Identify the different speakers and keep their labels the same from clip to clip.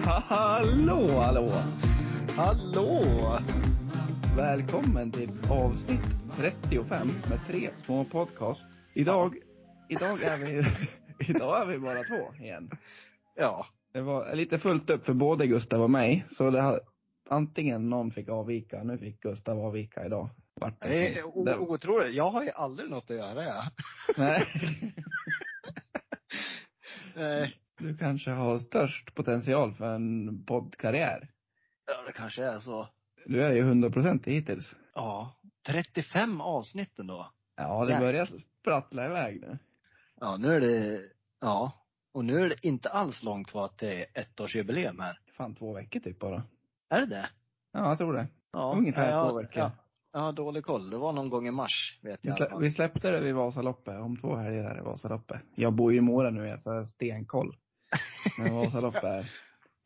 Speaker 1: Hallå, hallå! Hallå! Välkommen till avsnitt 35 med tre små podcast. Idag, idag, är, vi, idag är vi bara två igen.
Speaker 2: Ja.
Speaker 1: Det var lite fullt upp för både Gustav och mig, så det har, antingen någon fick avvika, nu fick Gustav avvika idag. Vart
Speaker 2: Det är o- otroligt. Jag har ju aldrig något att göra. Jag.
Speaker 1: Nej,
Speaker 2: Nej.
Speaker 1: du kanske har störst potential för en poddkarriär.
Speaker 2: Ja, det kanske är så.
Speaker 1: Du är ju 100% hittills.
Speaker 2: Ja. 35 avsnitt då.
Speaker 1: Ja, det
Speaker 2: Ja.
Speaker 1: börjar sprattla iväg nu.
Speaker 2: Ja, nu är det, ja. Och nu är det inte alls långt kvar till ettårsjubileum här.
Speaker 1: Fan, två veckor typ bara.
Speaker 2: Är det det?
Speaker 1: Ja, jag tror det.
Speaker 2: Ja.
Speaker 1: Ungefär
Speaker 2: ja,
Speaker 1: två veckor.
Speaker 2: Ja. Jag har dålig koll. Det var någon gång i mars, vet
Speaker 1: Vi,
Speaker 2: jag. i alla
Speaker 1: slä,
Speaker 2: fall.
Speaker 1: vi släppte det vid Vasaloppet, om två helger är det Vasaloppet. Jag bor ju i Mora nu, jag har stenkoll. Men Vasaloppet, är-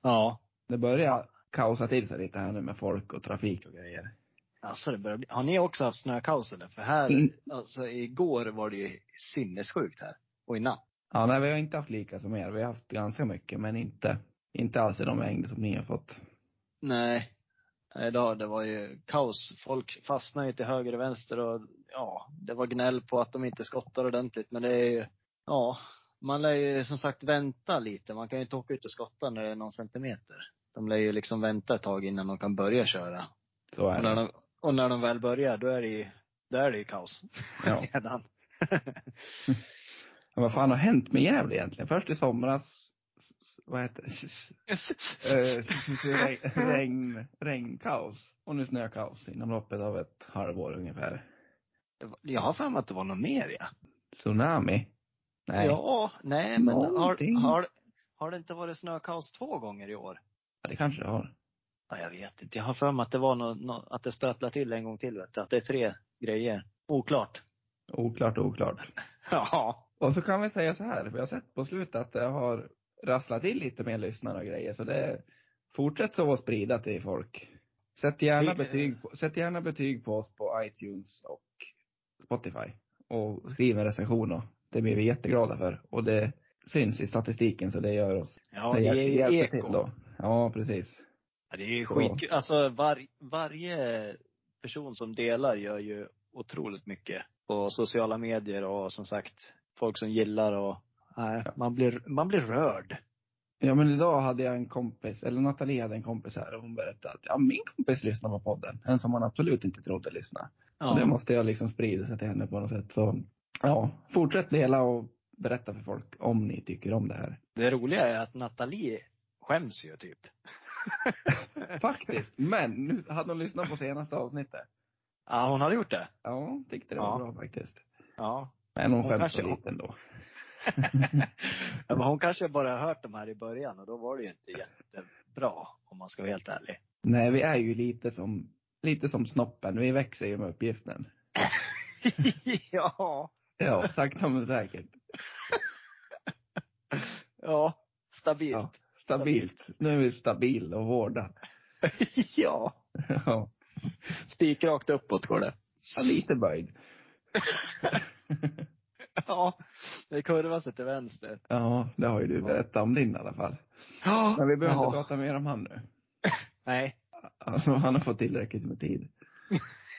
Speaker 2: Ja.
Speaker 1: det börjar kaosa till sig lite här nu med folk och trafik och grejer.
Speaker 2: Alltså det börjar bli, har ni också haft snökaos eller? För här,
Speaker 1: Mm.
Speaker 2: alltså igår var det ju sinnessjukt här. Och i natt.
Speaker 1: Ja, nej, vi har inte haft lika som er. Vi har haft ganska mycket, men inte, inte alls i de mängder som ni har fått.
Speaker 2: Nej. Nej, Idag, det var ju kaos. Folk fastnade ju till höger och vänster och ja, det var gnäll på att de inte skottar ordentligt. Men det är ju, ja, man lär ju som sagt vänta lite. Man kan ju inte åka ut och skotta när det är någon centimeter. De lär ju liksom vänta ett tag innan de kan börja köra.
Speaker 1: Så är
Speaker 2: Och när
Speaker 1: det.
Speaker 2: de, och när de väl börjar, då är det ju, då är det ju kaos.
Speaker 1: Ja.
Speaker 2: Redan.
Speaker 1: Men vad fan har hänt med Gävle egentligen? Först i somras, s- s- vad heter det? Eh, regn, regnkaos. Och nu snökaos inom loppet av ett halvår ungefär.
Speaker 2: Det var- Jag har för mig att det var något mer ja.
Speaker 1: Tsunami? Nej. Ja.
Speaker 2: Ja, nej men
Speaker 1: Någonting.
Speaker 2: har, har, har det inte varit snökaos två gånger i år?
Speaker 1: Det kanske det har.
Speaker 2: Ja, jag vet inte. Jag har för mig att det var nå nå att det sprattlade till en gång till vet du. Att det är tre grejer. Oklart.
Speaker 1: Oklart, oklart.
Speaker 2: Ja.
Speaker 1: Och så kan vi säga så här, vi har sett på slutet att det har rasslat till lite mer lyssnare och grejer, så det fortsätt så att sprida till folk. Sätt gärna,
Speaker 2: Vi-
Speaker 1: betyg på, sätt gärna betyg på oss på iTunes och Spotify. Och skriv en recension då. Det blir vi jätteglada för. Och det syns i statistiken så det gör oss,
Speaker 2: Ja,
Speaker 1: det
Speaker 2: det är
Speaker 1: hjäl-
Speaker 2: ju
Speaker 1: hjälper till
Speaker 2: eko.
Speaker 1: då. Ja, precis.
Speaker 2: Ja, det är ju
Speaker 1: Så.
Speaker 2: skitkul. Alltså var, varje person som delar gör ju otroligt mycket. På sociala medier och som sagt, folk som gillar och nej,
Speaker 1: Ja.
Speaker 2: man blir, man blir rörd.
Speaker 1: Ja men idag hade jag en kompis, eller Nathalie hade en kompis här och hon berättade att ja, min kompis lyssnar på podden. En som man absolut inte trodde lyssnade.
Speaker 2: Ja.
Speaker 1: Och det måste jag liksom sprida sig till henne på något sätt. Så ja, fortsätt dela och berätta för folk om ni tycker om det här.
Speaker 2: det roliga är att Nathalie skäms ju typ.
Speaker 1: Faktiskt, men nu hade hon lyssnat på senaste avsnittet.
Speaker 2: Ja, hon hade gjort det.
Speaker 1: Ja, hon tyckte det var
Speaker 2: Ja.
Speaker 1: bra faktiskt.
Speaker 2: Ja.
Speaker 1: Men hon
Speaker 2: Hon
Speaker 1: skäms
Speaker 2: kanske-
Speaker 1: så lite ändå.
Speaker 2: ja, men hon kanske bara har hört de här i början och då var det ju inte jättebra om man ska vara helt ärlig.
Speaker 1: Nej, vi är ju lite som, lite som snoppen. Vi växer ju med uppgiften.
Speaker 2: ja.
Speaker 1: Ja, sakta men säkert.
Speaker 2: Ja. Stabilt.
Speaker 1: Ja.
Speaker 2: Ja.
Speaker 1: Stabilt. Nu är vi stabila och hårda. Ja.
Speaker 2: Spikrakt uppåt går det.
Speaker 1: Ja, lite böjd.
Speaker 2: Ja. Det kurvar sig till vänster.
Speaker 1: Ja, det har ju du berättat om din i alla fall.
Speaker 2: Ja.
Speaker 1: Men vi behöver
Speaker 2: ja.
Speaker 1: inte prata mer om han nu.
Speaker 2: Nej.
Speaker 1: Alltså, han har fått tillräckligt med tid.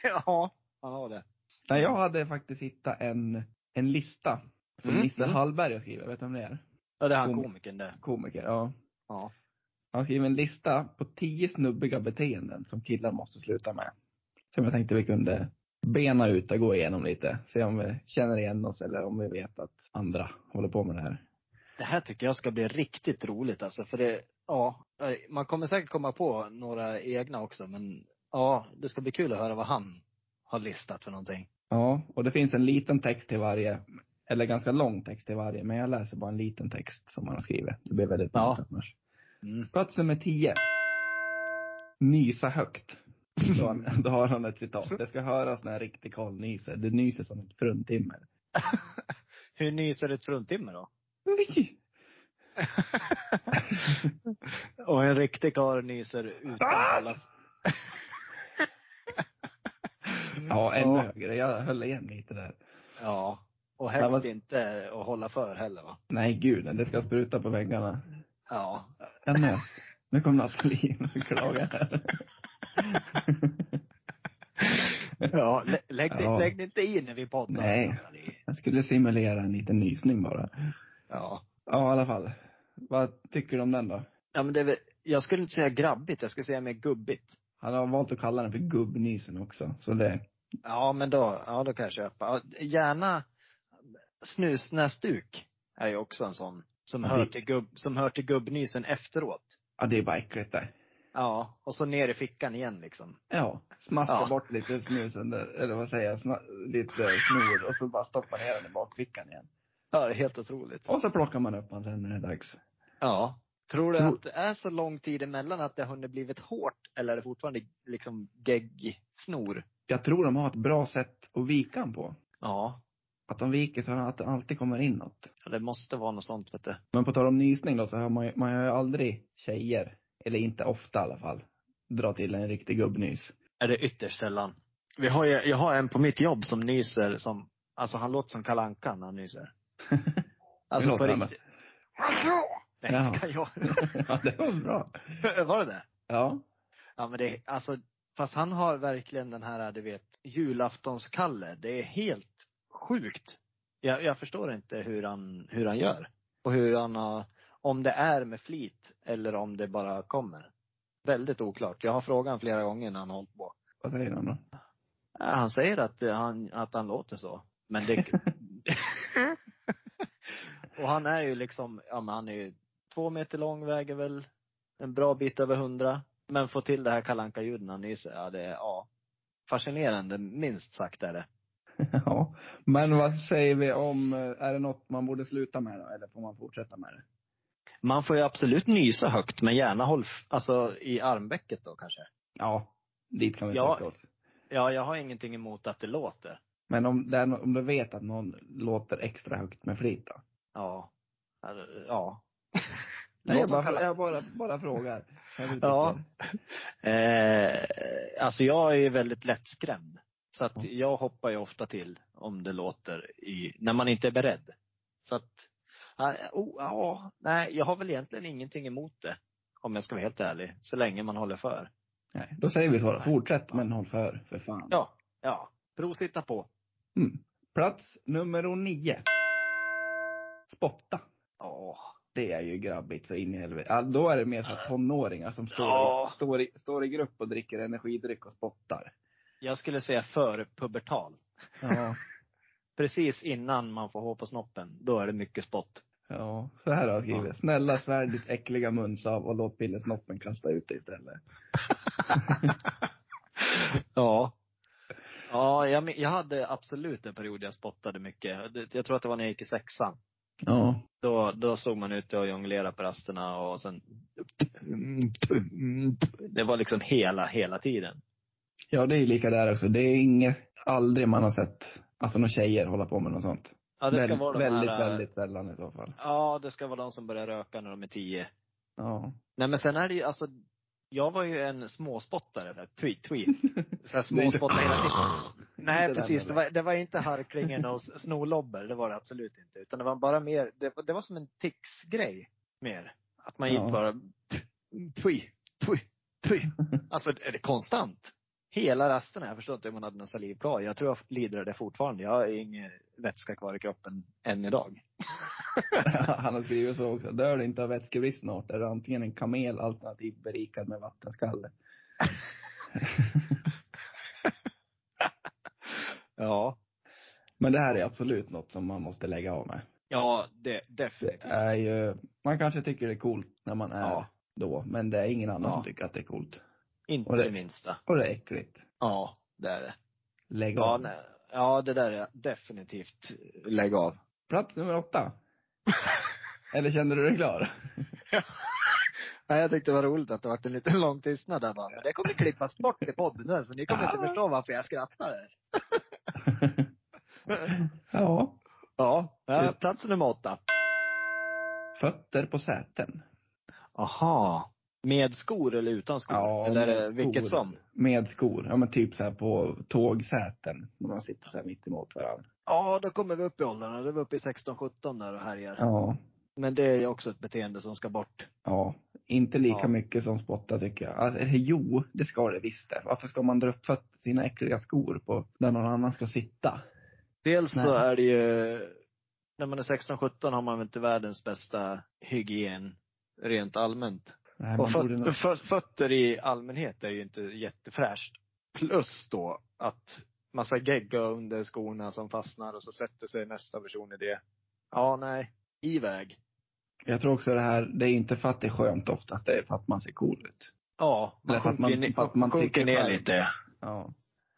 Speaker 2: Ja. Man har det.
Speaker 1: Nej, jag hade faktiskt hittat en, en lista som
Speaker 2: Mm,
Speaker 1: Nisse
Speaker 2: mm.
Speaker 1: Hallberg har skrivit. Vet du om det är?
Speaker 2: Ja, det är han
Speaker 1: Kom-
Speaker 2: komikern det.
Speaker 1: Komiker, ja.
Speaker 2: Ja.
Speaker 1: Han skrev en lista på tio snubbiga beteenden som killar måste sluta med. Som jag tänkte vi kunde bena ut och gå igenom lite. Se om vi känner igen oss eller om vi vet att andra håller på med det här.
Speaker 2: Det här tycker jag ska bli riktigt roligt alltså, för det, ja, man kommer säkert komma på några egna också, men ja, det ska bli kul att höra vad han har listat för någonting.
Speaker 1: Ja, och det finns en liten text till varje, eller ganska lång text till varje, men jag läser bara en liten text som man har skrivit. Det blir väldigt
Speaker 2: Ja.
Speaker 1: långt annars.
Speaker 2: Mm.
Speaker 1: Plats nummer 10. Nysa högt. Då, har han- då har han ett citat. Det ska höras när en riktig karl nyser. Det nyser som ett fruntimmer.
Speaker 2: Hur nyser ett fruntimmer då? Och en riktig karl nyser utan
Speaker 1: Ah!
Speaker 2: alla...
Speaker 1: Ja, ännu
Speaker 2: Ja.
Speaker 1: högre. Jag höll igen lite där.
Speaker 2: Ja. Och helst
Speaker 1: Nej, men-
Speaker 2: inte att hålla för heller va?
Speaker 1: Nej, gud, det ska spruta på väggarna.
Speaker 2: Ja.
Speaker 1: Jag med. Nu kom Nathalie och klagar här.
Speaker 3: Ja, lä- lägg, dig-
Speaker 1: Ja.
Speaker 3: lägg dig inte in när vi poddar.
Speaker 1: Nej. Jag skulle simulera en liten nysning bara.
Speaker 3: Ja.
Speaker 1: Ja, i alla fall. Vad tycker du om den då?
Speaker 2: Ja, men det är väl, jag skulle inte säga grabbigt, jag skulle säga mer gubbigt.
Speaker 1: Han har valt att kalla den för gubbnysen också, så det.
Speaker 2: Ja, men då, ja då kan jag köpa. Ja, Gärna snusnäsduk är ju också en sån som
Speaker 1: Ja,
Speaker 2: hör
Speaker 1: det-
Speaker 2: till, gubb, som hör till gubbnysen efteråt.
Speaker 1: Ja, det är bara äckligt där.
Speaker 2: Ja, och så ner i fickan igen liksom.
Speaker 1: Ja, smaska
Speaker 2: Ja.
Speaker 1: bort lite snusen där, eller vad säger jag, sma- lite snor och så bara stoppa ner den i bakfickan igen.
Speaker 2: Ja, det är helt otroligt.
Speaker 1: Och så plockar man upp den sen när det är dags.
Speaker 2: Ja. Tror du
Speaker 1: Jo.
Speaker 2: att det är så lång tid emellan att det har hunnit blivit hårt eller är det fortfarande liksom geggsnor?
Speaker 1: Jag tror de har ett bra sätt att vika den på.
Speaker 2: Ja.
Speaker 1: Att de viker så att det alltid kommer inåt.
Speaker 2: ja, det måste vara något sånt vet du.
Speaker 1: Men på tal om nysning då, så har man, ju- man har ju aldrig tjejer, eller inte ofta i alla fall, dra till en riktig gubbnys.
Speaker 2: Är det ytterst sällan. Vi har ju, jag har en på mitt jobb som nyser som, alltså han låter som Kalle Anka när han nyser. Alltså
Speaker 1: Hur
Speaker 2: på
Speaker 1: låter han då?
Speaker 2: riktigt. Nej, det kan jag.
Speaker 1: ja, det var bra.
Speaker 2: Var det det?
Speaker 1: Ja.
Speaker 2: Ja men det, alltså, fast han har verkligen den här, du vet, julaftonskalle. Det är helt sjukt. Jag, jag förstår inte hur han, hur han gör. Och hur han har, om det är med flit eller om det bara kommer. Väldigt oklart. Jag har frågat honom flera gånger när han hållit på.
Speaker 1: Vad säger han då?
Speaker 2: Ja, Han säger att eh, han, att han låter så. Men det... och han är ju liksom, ja men han är ju två meter lång, väger väl en bra bit över hundra. Men få till det här kalanka ljuden när han nyser, ja det är, ja. Fascinerande, minst sagt är det.
Speaker 1: Ja. Men vad säger vi om, eh, är det något man borde sluta med då, eller får man fortsätta med det?
Speaker 2: Man får ju absolut nysa högt, men gärna håll, f- alltså i armvecket då kanske.
Speaker 1: Ja, dit kan vi
Speaker 2: Ja.
Speaker 1: söka oss.
Speaker 2: Ja, jag har ingenting emot att det låter.
Speaker 1: Men om, det är, no- om du vet att någon låter extra högt med flit då?
Speaker 2: Ja. Alltså, Ja.
Speaker 1: Nej, jag
Speaker 2: Låt som
Speaker 1: bara,
Speaker 2: Kalle-
Speaker 1: jag bara, bara frågar. Jag vet
Speaker 2: Ja.
Speaker 1: inte.
Speaker 2: Eh, alltså jag är ju väldigt lättskrämd. Så att
Speaker 1: Mm.
Speaker 2: jag hoppar ju ofta till om det låter i, när man inte är beredd. Så att, ja, oh, ja, nej, jag har väl egentligen ingenting emot det. Om jag ska vara helt ärlig. Så länge man håller för.
Speaker 1: Nej, då säger vi så då. Fortsätt men håll för, för fan.
Speaker 2: Ja, ja. Provsitta på.
Speaker 1: Mm. Plats nummer nio. Spotta.
Speaker 2: Ja.
Speaker 1: Det är ju grabbigt så in i helvete. Ja, då är det mer så här tonåringar som står,
Speaker 2: Ja.
Speaker 1: står, i, står i grupp och dricker energidryck och spottar.
Speaker 2: Jag skulle säga för pubertal.
Speaker 1: Ja.
Speaker 2: Precis innan man får hår på snoppen, då är det mycket spott.
Speaker 1: Ja, så här har jag skrivit. Snälla svär ditt äckliga munsav och låt pillesnoppen kasta ut det istället.
Speaker 2: Ja. Ja, jag, men- jag hade absolut en period jag spottade mycket. Det- Jag tror att det var när jag gick i sexan.
Speaker 1: Ja.
Speaker 2: Då, då stod man ute och jonglerade på rasterna och sen Det var liksom hela, hela tiden.
Speaker 1: Ja, det är ju lika där också. Det är inget, aldrig man har sett, alltså några tjejer hålla på med något sånt.
Speaker 2: Ja, det ska
Speaker 1: Väl-
Speaker 2: vara de
Speaker 1: väldigt,
Speaker 2: här,
Speaker 1: väldigt sällan i så fall.
Speaker 2: Ja, det ska vara de som börjar röka när de är tio.
Speaker 1: Ja.
Speaker 2: Nej men sen är det ju alltså, jag var ju en småspottare. där. Tweet, tweet. Så här småspottare hela tiden.
Speaker 1: Inte
Speaker 2: Nej
Speaker 1: den
Speaker 2: precis, det
Speaker 1: eller?
Speaker 2: var, det var inte harklingen och s- snorlobber, det var det absolut inte. Utan det var bara mer, det, var- det var som en tics-grej mer. Att man gick
Speaker 1: Ja.
Speaker 2: bara twi, twi, twi. Alltså är det konstant? Hela rasterna, jag förstår inte hur man hade någon saliv kvar. Jag tror jag lider av det fortfarande. Jag har ingen vätska kvar i kroppen än idag.
Speaker 1: Han har skrivit så också. Dör du inte av vätskebrist snart är du antingen en kamel alternativt berikad med vattenskalle.
Speaker 2: Ja.
Speaker 1: Men det här är absolut något som man måste lägga av med.
Speaker 2: Ja, det,
Speaker 1: Det
Speaker 2: definitivt.
Speaker 1: är ju, man kanske tycker det är coolt när man är
Speaker 2: Ja.
Speaker 1: då, men det är ingen annan
Speaker 2: Ja.
Speaker 1: som tycker att det är coolt.
Speaker 2: Inte
Speaker 1: Och det-
Speaker 2: det minsta.
Speaker 1: Och det är äckligt.
Speaker 2: Ja, det är det.
Speaker 1: Lägg
Speaker 2: Ja,
Speaker 1: av.
Speaker 2: nej. ja, det där är definitivt lägg av.
Speaker 1: Plats nummer åtta. Eller kände du dig klar?
Speaker 2: Nej, jag tyckte det var roligt att det varit en liten lång tystnad där bara. Men det kommer klippas bort i podden där, så ni kommer inte
Speaker 1: Ja.
Speaker 2: förstå varför jag skrattar.
Speaker 1: ja.
Speaker 2: Ja, ja
Speaker 1: Typ.
Speaker 2: plats nummer åtta.
Speaker 1: Fötter på säten.
Speaker 2: Aha. Med skor eller utan skor?
Speaker 1: Ja,
Speaker 2: eller
Speaker 1: med
Speaker 2: eh, vilket
Speaker 1: skor.
Speaker 2: som?
Speaker 1: Med skor. Ja men typ så här på tågsäten. När man sitter så här mitt emot varandra.
Speaker 2: Ja, då kommer vi upp i åldrarna. Då är vi uppe i 16-17 där och härjar.
Speaker 1: Ja.
Speaker 2: Men det är ju också ett beteende som ska bort.
Speaker 1: Ja. Inte lika
Speaker 4: Ja.
Speaker 1: mycket som spotta tycker jag. Alltså, eller jo, det ska det visst det. Varför ska man dra upp föt- sina äckliga skor på där någon annan ska sitta?
Speaker 2: Dels så
Speaker 1: Nej.
Speaker 2: är det ju, när man är 16-17 har man väl inte världens bästa hygien rent allmänt.
Speaker 1: Nej,
Speaker 2: Och
Speaker 1: man borde nog...
Speaker 2: föt- föt-
Speaker 4: Fötter i allmänhet är ju inte jättefräscht. Plus då att massa gegga under skorna som fastnar och så sätter sig nästa person i det. Ja, nej. Iväg.
Speaker 1: Jag tror också det här, det är inte för att det är skönt oftast, det är för att man ser cool ut.
Speaker 2: Ja, man
Speaker 1: Därför att
Speaker 2: sjunker,
Speaker 1: man-
Speaker 2: ner,
Speaker 1: för att man
Speaker 2: sjunker
Speaker 1: tycker
Speaker 2: ner
Speaker 1: själv.
Speaker 2: lite.
Speaker 1: Ja.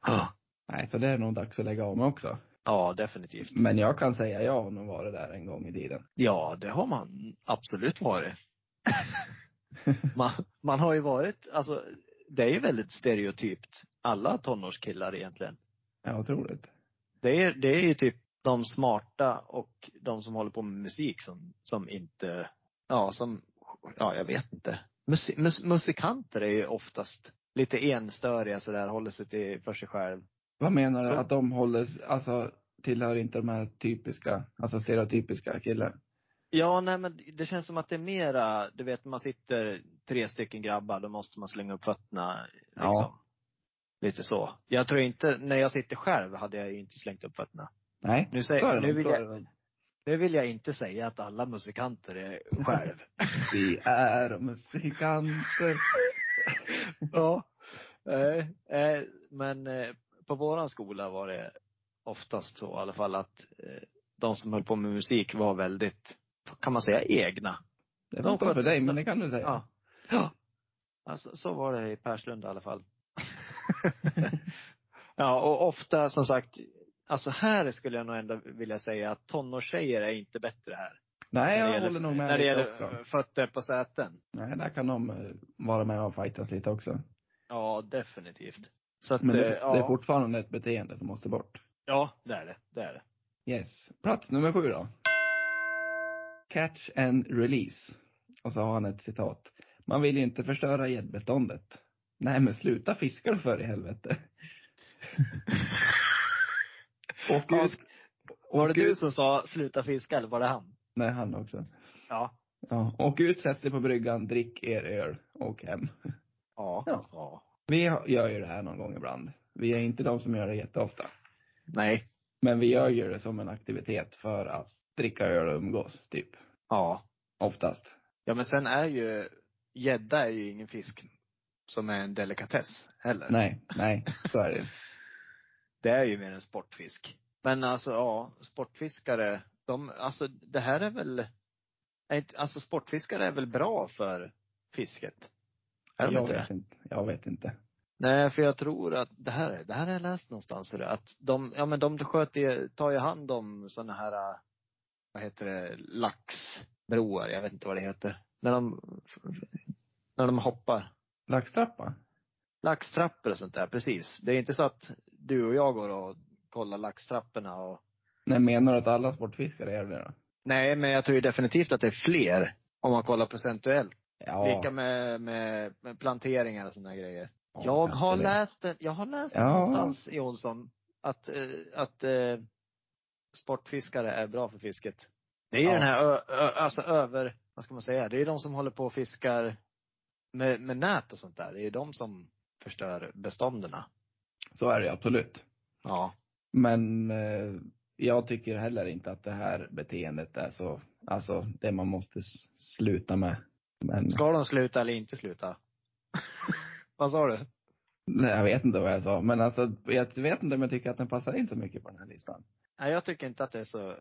Speaker 2: Ja.
Speaker 1: Nej, så det är nog dags att lägga av mig också.
Speaker 2: ja, definitivt.
Speaker 1: Men jag kan säga, jag har nog varit där en gång i tiden.
Speaker 2: Ja, det har man absolut varit. man, man har ju varit, alltså det är ju väldigt stereotypt, alla tonårskillar egentligen.
Speaker 1: Ja, otroligt.
Speaker 2: Det är, det är ju typ de smarta och de som håller på med musik som, som inte, ja som, ja jag vet inte. Musi, mus, musikanter är ju oftast lite enstöriga sådär, håller sig till, för sig själv.
Speaker 1: Vad menar du?
Speaker 2: Så-
Speaker 1: Att de håller, alltså tillhör inte de här typiska, alltså stereotypiska killar?
Speaker 2: Ja, nej men det känns som att det är mera, du vet man sitter tre stycken grabbar, då måste man slänga upp fötterna liksom.
Speaker 1: Ja.
Speaker 2: Lite så. Jag tror inte, när jag sitter själv hade jag ju inte slängt upp fötterna.
Speaker 1: Nej.
Speaker 2: Nu
Speaker 1: Så är det
Speaker 2: säger, nu
Speaker 1: nog,
Speaker 2: vill
Speaker 1: så är
Speaker 2: jag,
Speaker 1: det nog.
Speaker 2: nu vill jag inte säga att alla musikanter är själv.
Speaker 1: Vi är musikanter.
Speaker 2: Ja. Nej, eh, men eh, på våran skola var det oftast så i alla fall att eh, de som höll på med musik var väldigt, kan man säga egna?
Speaker 1: Det
Speaker 2: De
Speaker 1: var inte för
Speaker 2: sköter-
Speaker 1: dig, men det kan du säga.
Speaker 2: Ja. Ja. Alltså, så var det i Perslund i alla fall. ja, och ofta som sagt, alltså här skulle jag nog ändå vilja säga att tonårstjejer är inte bättre här.
Speaker 1: Nej,
Speaker 2: När det
Speaker 1: jag
Speaker 2: gäller-
Speaker 1: håller nog med
Speaker 2: När det
Speaker 1: lite
Speaker 2: gäller
Speaker 1: också.
Speaker 2: eh, fötter på säten.
Speaker 1: Nej, där kan de eh, vara med och fightas lite också.
Speaker 2: Ja, definitivt. Så att,
Speaker 1: Men det,
Speaker 2: eh, ja,
Speaker 1: det är fortfarande ett beteende som måste bort.
Speaker 2: ja, det är det. Det är det.
Speaker 1: Yes. Plats nummer sju då. Catch and release. Och så har han ett citat. Man vill ju inte förstöra gäddbeståndet. Nej men sluta fiska då för i helvete. Och
Speaker 2: Ja,
Speaker 1: ut.
Speaker 2: Var det
Speaker 1: åk
Speaker 2: du
Speaker 1: ut-
Speaker 2: som sa sluta fiska eller var det han?
Speaker 1: Nej, han också.
Speaker 2: Ja.
Speaker 1: Ja. Åk ut, sätt dig på bryggan, drick er öl, åk hem.
Speaker 2: Ja.
Speaker 1: Ja.
Speaker 2: ja.
Speaker 1: Vi har- gör ju det här någon gång ibland. Vi är inte de som gör det jätteofta.
Speaker 2: Nej.
Speaker 1: Men vi gör ju det som en aktivitet för att dricka öl och umgås, typ.
Speaker 2: Ja.
Speaker 1: Oftast.
Speaker 2: Ja men sen är ju, gädda är ju ingen fisk som är en delikatess heller.
Speaker 1: Nej, nej, så är det ju.
Speaker 2: Det är ju mer en sportfisk. Men alltså ja, sportfiskare, de, alltså det här är väl, är inte- alltså sportfiskare är väl bra för fisket? Är de
Speaker 1: jag
Speaker 2: inte det?
Speaker 1: vet inte. Jag vet inte.
Speaker 2: Nej, för jag tror att det här, det här har jag läst någonstans, är det, att de, ja men de sköter ju, tar ju hand om sådana här, eh, vad heter det, laxbroar, jag vet inte vad det heter. När de, när de hoppar.
Speaker 1: Laxtrappa?
Speaker 2: Laxtrappor och sånt där, precis. Det är inte så att du och jag går och kollar laxtrapporna och,
Speaker 1: Nej, menar du att alla sportfiskare gör det då?
Speaker 2: nej men jag tror ju definitivt att det är fler om man kollar procentuellt.
Speaker 1: Ja.
Speaker 2: Lika med, med, med planteringar och sådana grejer.
Speaker 1: ja,
Speaker 2: Jag
Speaker 1: kanske
Speaker 2: har
Speaker 1: det.
Speaker 2: läst det, jag har läst det
Speaker 1: Ja.
Speaker 2: någonstans i Olsson, att, eh, att eh, sportfiskare är bra för fisket. Det är ju
Speaker 1: Ja.
Speaker 2: den här, ö, ö, alltså över, vad ska man säga, det är de som håller på och fiskar med, med nät och sånt där. Det är ju de som förstör bestånden.
Speaker 1: Så är det ju absolut.
Speaker 2: Ja.
Speaker 1: Men eh, jag tycker heller inte att det här beteendet är så, alltså det man måste s- sluta med. Men
Speaker 2: Ska de sluta eller inte sluta? vad sa du?
Speaker 1: nej, jag vet inte vad jag sa. Men alltså, jag vet inte om jag tycker att den passar in så mycket på den här listan.
Speaker 2: Nej, jag tycker inte att det är så,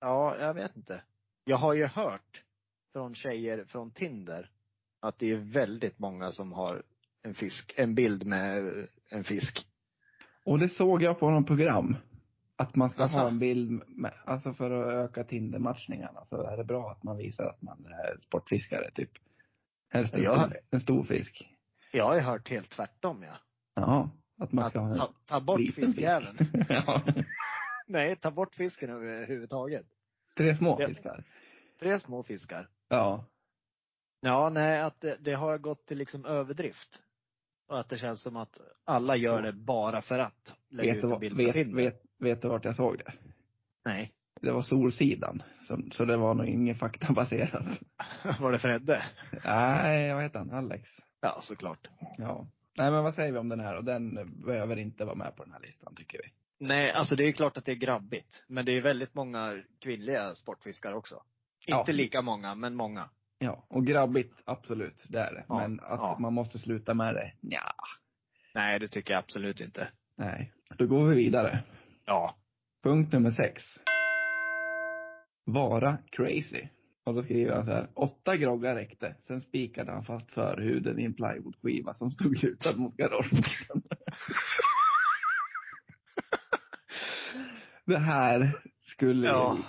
Speaker 2: ja, jag vet inte. Jag har ju hört från tjejer från Tinder att det är väldigt många som har en fisk, en bild med en fisk.
Speaker 1: Och det såg jag på något program. Att man ska
Speaker 2: Alltså?
Speaker 1: ha en bild, med, alltså för att öka Tinder-matchningarna så är det bra att man visar att man är sportfiskare typ. Helst en,
Speaker 2: Ja.
Speaker 1: stor, en stor fisk.
Speaker 2: Jag har ju hört helt tvärtom ja.
Speaker 1: Ja, att man
Speaker 2: Att
Speaker 1: ska ha
Speaker 2: ta,
Speaker 1: en
Speaker 2: ta bort
Speaker 1: liten
Speaker 2: fiskjäveln.
Speaker 1: fisk. ja.
Speaker 2: Nej, ta bort fisken överhuvudtaget.
Speaker 1: Tre små
Speaker 2: Ja.
Speaker 1: fiskar.
Speaker 2: Tre små fiskar.
Speaker 1: Ja.
Speaker 2: Ja, nej, att det, det har gått till liksom överdrift. Och att det känns som att alla gör det bara för att lägga
Speaker 1: Vet
Speaker 2: ut
Speaker 1: du,
Speaker 2: en
Speaker 1: vad-
Speaker 2: bild på
Speaker 1: vet,
Speaker 2: Tinder.
Speaker 1: vet, vet du vart jag såg det?
Speaker 2: Nej.
Speaker 1: Det var Solsidan. Så, så det var nog ingen faktabaserat.
Speaker 5: Var det Fredde?
Speaker 1: Nej, vad heter han? Alex?
Speaker 5: Ja, såklart.
Speaker 1: Ja. Nej, men vad säger vi om den här då? Den behöver inte vara med på den här listan tycker vi.
Speaker 2: Nej, alltså det är klart att det är grabbigt. Men det är väldigt många kvinnliga sportfiskare också.
Speaker 1: Ja.
Speaker 2: Inte lika många, men många.
Speaker 1: Ja, och grabbigt, absolut, det är det.
Speaker 5: Ja,
Speaker 1: men att
Speaker 5: ja.
Speaker 1: man måste sluta med det, ja.
Speaker 5: Nej, det tycker jag absolut inte.
Speaker 1: Nej. Då går vi vidare.
Speaker 5: Ja.
Speaker 1: Punkt nummer sex. Vara crazy. Och då skriver han så här. Åtta groggar räckte. Sen spikade han fast förhuden i en plywoodskiva som stod lutad mot garaget. Det här skulle
Speaker 2: Ja.
Speaker 1: ju,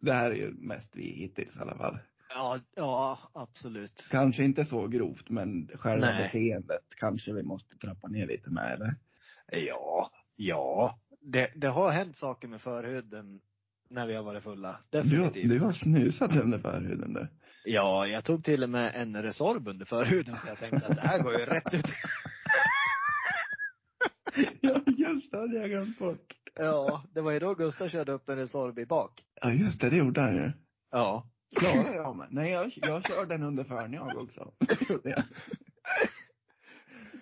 Speaker 1: det här är ju mest vi hittills i alla fall.
Speaker 2: Ja, ja absolut.
Speaker 1: Kanske inte så grovt men själva
Speaker 5: Nej.
Speaker 1: beteendet kanske vi måste trappa ner lite med eller?
Speaker 5: Ja. Ja. Det, det har hänt saker med förhuden när vi har varit fulla.
Speaker 1: Du har,
Speaker 5: Definitivt.
Speaker 1: du har snusat under förhuden du.
Speaker 2: Ja, jag
Speaker 5: Jag tog till och med en Resorb under förhuden för jag tänkte att det här går ju rätt ut.
Speaker 1: Ja just det, det hade jag glömt bort.
Speaker 2: Ja, det var ju då Gustav körde upp en Resorb i bak.
Speaker 1: Ja just det, det gjorde han ju.
Speaker 5: Ja.
Speaker 1: Klarade jag mig? Nej, jag, jag kör den under förhand jag också.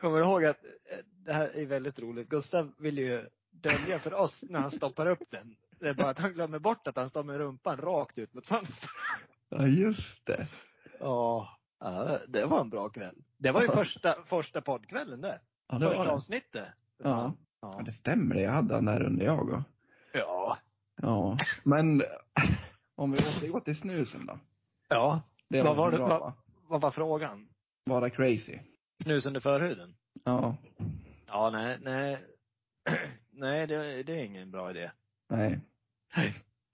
Speaker 2: Kommer du ihåg att, eh, det här är väldigt roligt, Gustav vill ju dölja för oss när han stoppar upp den. Det är bara att han glömmer bort att han står med rumpan rakt ut mot fönstret.
Speaker 1: Ja, just det.
Speaker 2: Ja, ja, det var en bra kväll. Det var ju första, första poddkvällen det.
Speaker 1: Ja, det var
Speaker 2: första
Speaker 1: det.
Speaker 2: avsnittet.
Speaker 1: Ja. Ja,
Speaker 2: Ja.
Speaker 1: det stämmer det. Jag hade den där under jag och.
Speaker 2: Ja.
Speaker 1: Ja. Men om vi återgår till snusen då.
Speaker 5: Ja.
Speaker 1: Det
Speaker 5: Vad var
Speaker 1: väl
Speaker 5: det-
Speaker 1: bra,
Speaker 5: vad-
Speaker 1: va?
Speaker 5: Vad var frågan?
Speaker 1: Vara crazy.
Speaker 2: Snus under förhuden?
Speaker 1: Ja.
Speaker 5: Ja, nej, nej. Nej, det, det är ingen bra idé.
Speaker 1: Nej.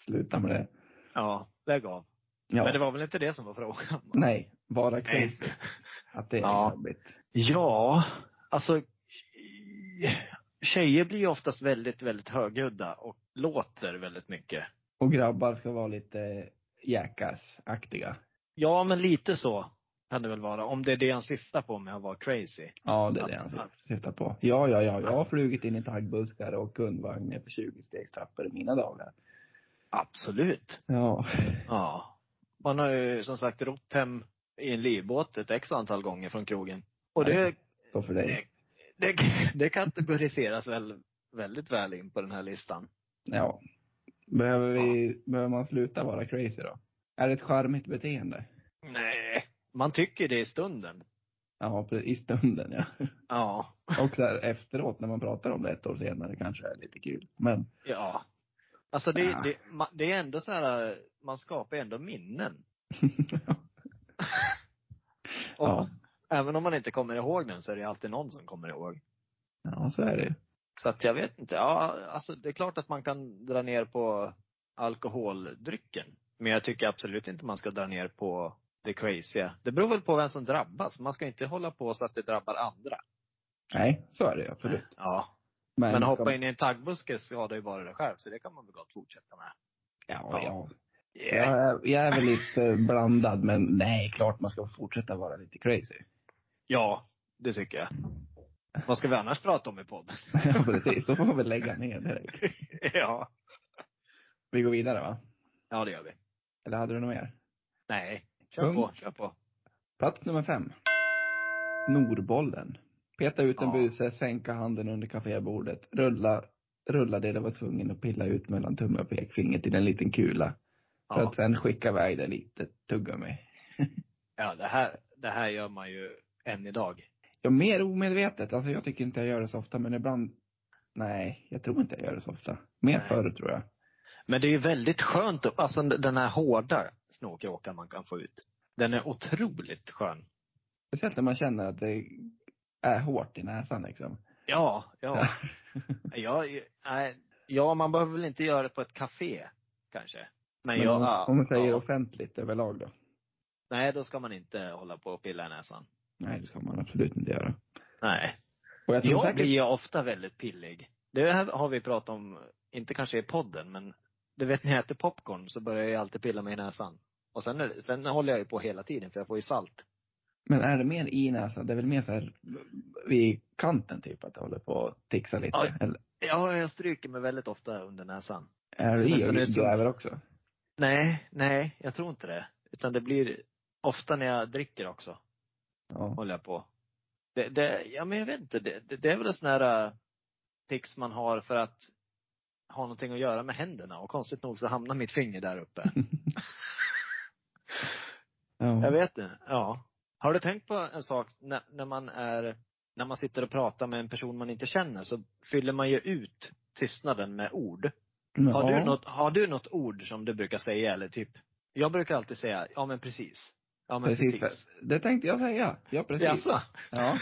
Speaker 1: Sluta med det.
Speaker 5: Ja, lägg av.
Speaker 1: Ja.
Speaker 5: Men det var väl inte det som var frågan?
Speaker 1: Nej. Vara
Speaker 5: Nej.
Speaker 1: crazy. Att det är
Speaker 5: Ja.
Speaker 1: jobbigt.
Speaker 5: Ja,
Speaker 2: Alltså, tjejer blir ju oftast väldigt, väldigt högljudda och låter väldigt mycket.
Speaker 1: Och grabbar ska vara lite jackass-aktiga.
Speaker 2: Ja, men lite så kan det väl vara. Om det är det han syftar på med att vara crazy.
Speaker 1: Ja, det är det han sy- syftar på. Ja, ja, ja. Jag har flugit in i taggbuskar och kundvagn för 20 stegstrappor i mina dagar.
Speaker 2: Absolut.
Speaker 1: Ja.
Speaker 2: Ja. Man har ju som sagt rott hem i en livbåt ett x antal gånger från krogen. Och det,
Speaker 1: Så för dig.
Speaker 2: det, det kategoriseras väl väldigt väl in på den här listan.
Speaker 1: Ja. Behöver vi, behöver man sluta vara crazy då? Är det ett charmigt beteende?
Speaker 2: Nej. Man tycker det i stunden.
Speaker 1: Ja, pre- i stunden ja.
Speaker 2: Ja.
Speaker 1: Och så här efteråt när man pratar om det ett år senare kanske är lite kul. Men
Speaker 2: Ja. Alltså det,
Speaker 1: Ja.
Speaker 2: det, ma- det är ändå så här, man skapar ju ändå minnen. Och
Speaker 1: Ja.
Speaker 2: Även om man inte kommer ihåg den så är det alltid någon som kommer ihåg.
Speaker 1: ja, så är det ju.
Speaker 2: Så att jag vet inte, ja alltså det är klart att man kan dra ner på alkoholdrycken. Men jag tycker absolut inte man ska dra ner på det crazya. Det beror väl på vem som drabbas. Man ska inte hålla på så att det drabbar andra.
Speaker 1: Nej, så är det ju absolut.
Speaker 2: Ja. Men
Speaker 1: ska-
Speaker 2: hoppa in i en taggbuske skadar ju bara dig själv, så det kan man väl gott fortsätta med.
Speaker 1: Ja, ja.
Speaker 2: Yeah.
Speaker 1: Jag är, jag är väl lite blandad, men nej, klart man ska fortsätta vara lite crazy.
Speaker 2: Ja, det tycker jag. Vad ska vi annars prata om i podden?
Speaker 1: Ja, precis. Då får vi lägga ner direkt.
Speaker 2: ja.
Speaker 1: Vi går vidare va?
Speaker 2: Ja, det gör vi.
Speaker 1: Eller hade du något mer?
Speaker 2: Nej. Kör
Speaker 1: Punkt.
Speaker 2: på, kör på.
Speaker 1: Plats nummer fem. Norbollen. Peta ut en
Speaker 2: Ja.
Speaker 1: buse, sänka handen under kafébordet, rulla, rulla det du var tvungen att pilla ut mellan tumme och pekfingret till en liten kula. För
Speaker 2: Ja.
Speaker 1: att sen skicka iväg det lite tuggummi.
Speaker 2: ja, det här, det här gör man ju än idag.
Speaker 1: Ja, mer omedvetet. Alltså jag tycker inte jag gör det så ofta, men ibland, nej, jag tror inte jag gör det så ofta. Mer
Speaker 2: Nej.
Speaker 1: förr tror jag.
Speaker 2: Men det är ju väldigt skönt, att- alltså den här hårda snokråkan man kan få ut. Den är otroligt skön.
Speaker 1: Speciellt när man känner att det är hårt i näsan liksom.
Speaker 2: Ja, ja. ja, nej, ja, man behöver väl inte göra det på ett café, kanske. Men,
Speaker 1: Men
Speaker 2: jag,
Speaker 1: om, man- om man säger
Speaker 2: ja,
Speaker 1: offentligt överlag då?
Speaker 2: nej, då ska man inte hålla på och pilla i näsan.
Speaker 1: Nej, det ska man absolut inte göra.
Speaker 2: Nej.
Speaker 1: Och jag tror
Speaker 2: Jag
Speaker 1: säkert,
Speaker 2: blir ju ofta väldigt pillig. Det här har vi pratat om, inte kanske i podden, men du vet när jag äter popcorn så börjar jag ju alltid pilla mig i näsan. Och sen, är, det- sen håller jag ju på hela tiden för jag får ju salt.
Speaker 1: men är det mer i näsan? Det är väl mer så här vid kanten typ, att det håller på att tixa lite?
Speaker 2: Ja.
Speaker 1: Eller,
Speaker 2: Ja, jag stryker mig väldigt ofta under näsan.
Speaker 1: Är
Speaker 6: Ser nästan
Speaker 1: det
Speaker 6: ut som-
Speaker 1: elgräver också?
Speaker 2: Nej, nej, jag tror inte det. Utan det blir ofta när jag dricker också,
Speaker 1: Ja.
Speaker 2: håller jag på. Det, det, ja men jag vet inte, det, det, det är väl en sån här äh, tics man har för att ha någonting att göra med händerna och konstigt nog så hamnar mitt finger där uppe. Jag
Speaker 1: ja.
Speaker 2: vet det. Ja. Har du tänkt på en sak när, när man är, när man sitter och pratar med en person man inte känner så fyller man ju ut tystnaden med ord. Har, du något, har du något ord som du brukar säga eller typ? Jag brukar alltid säga, ja men precis. Ja men
Speaker 1: Precis.
Speaker 2: precis.
Speaker 1: Det tänkte jag säga. Ja, precis.
Speaker 2: Jaså?
Speaker 1: Ja. Ja,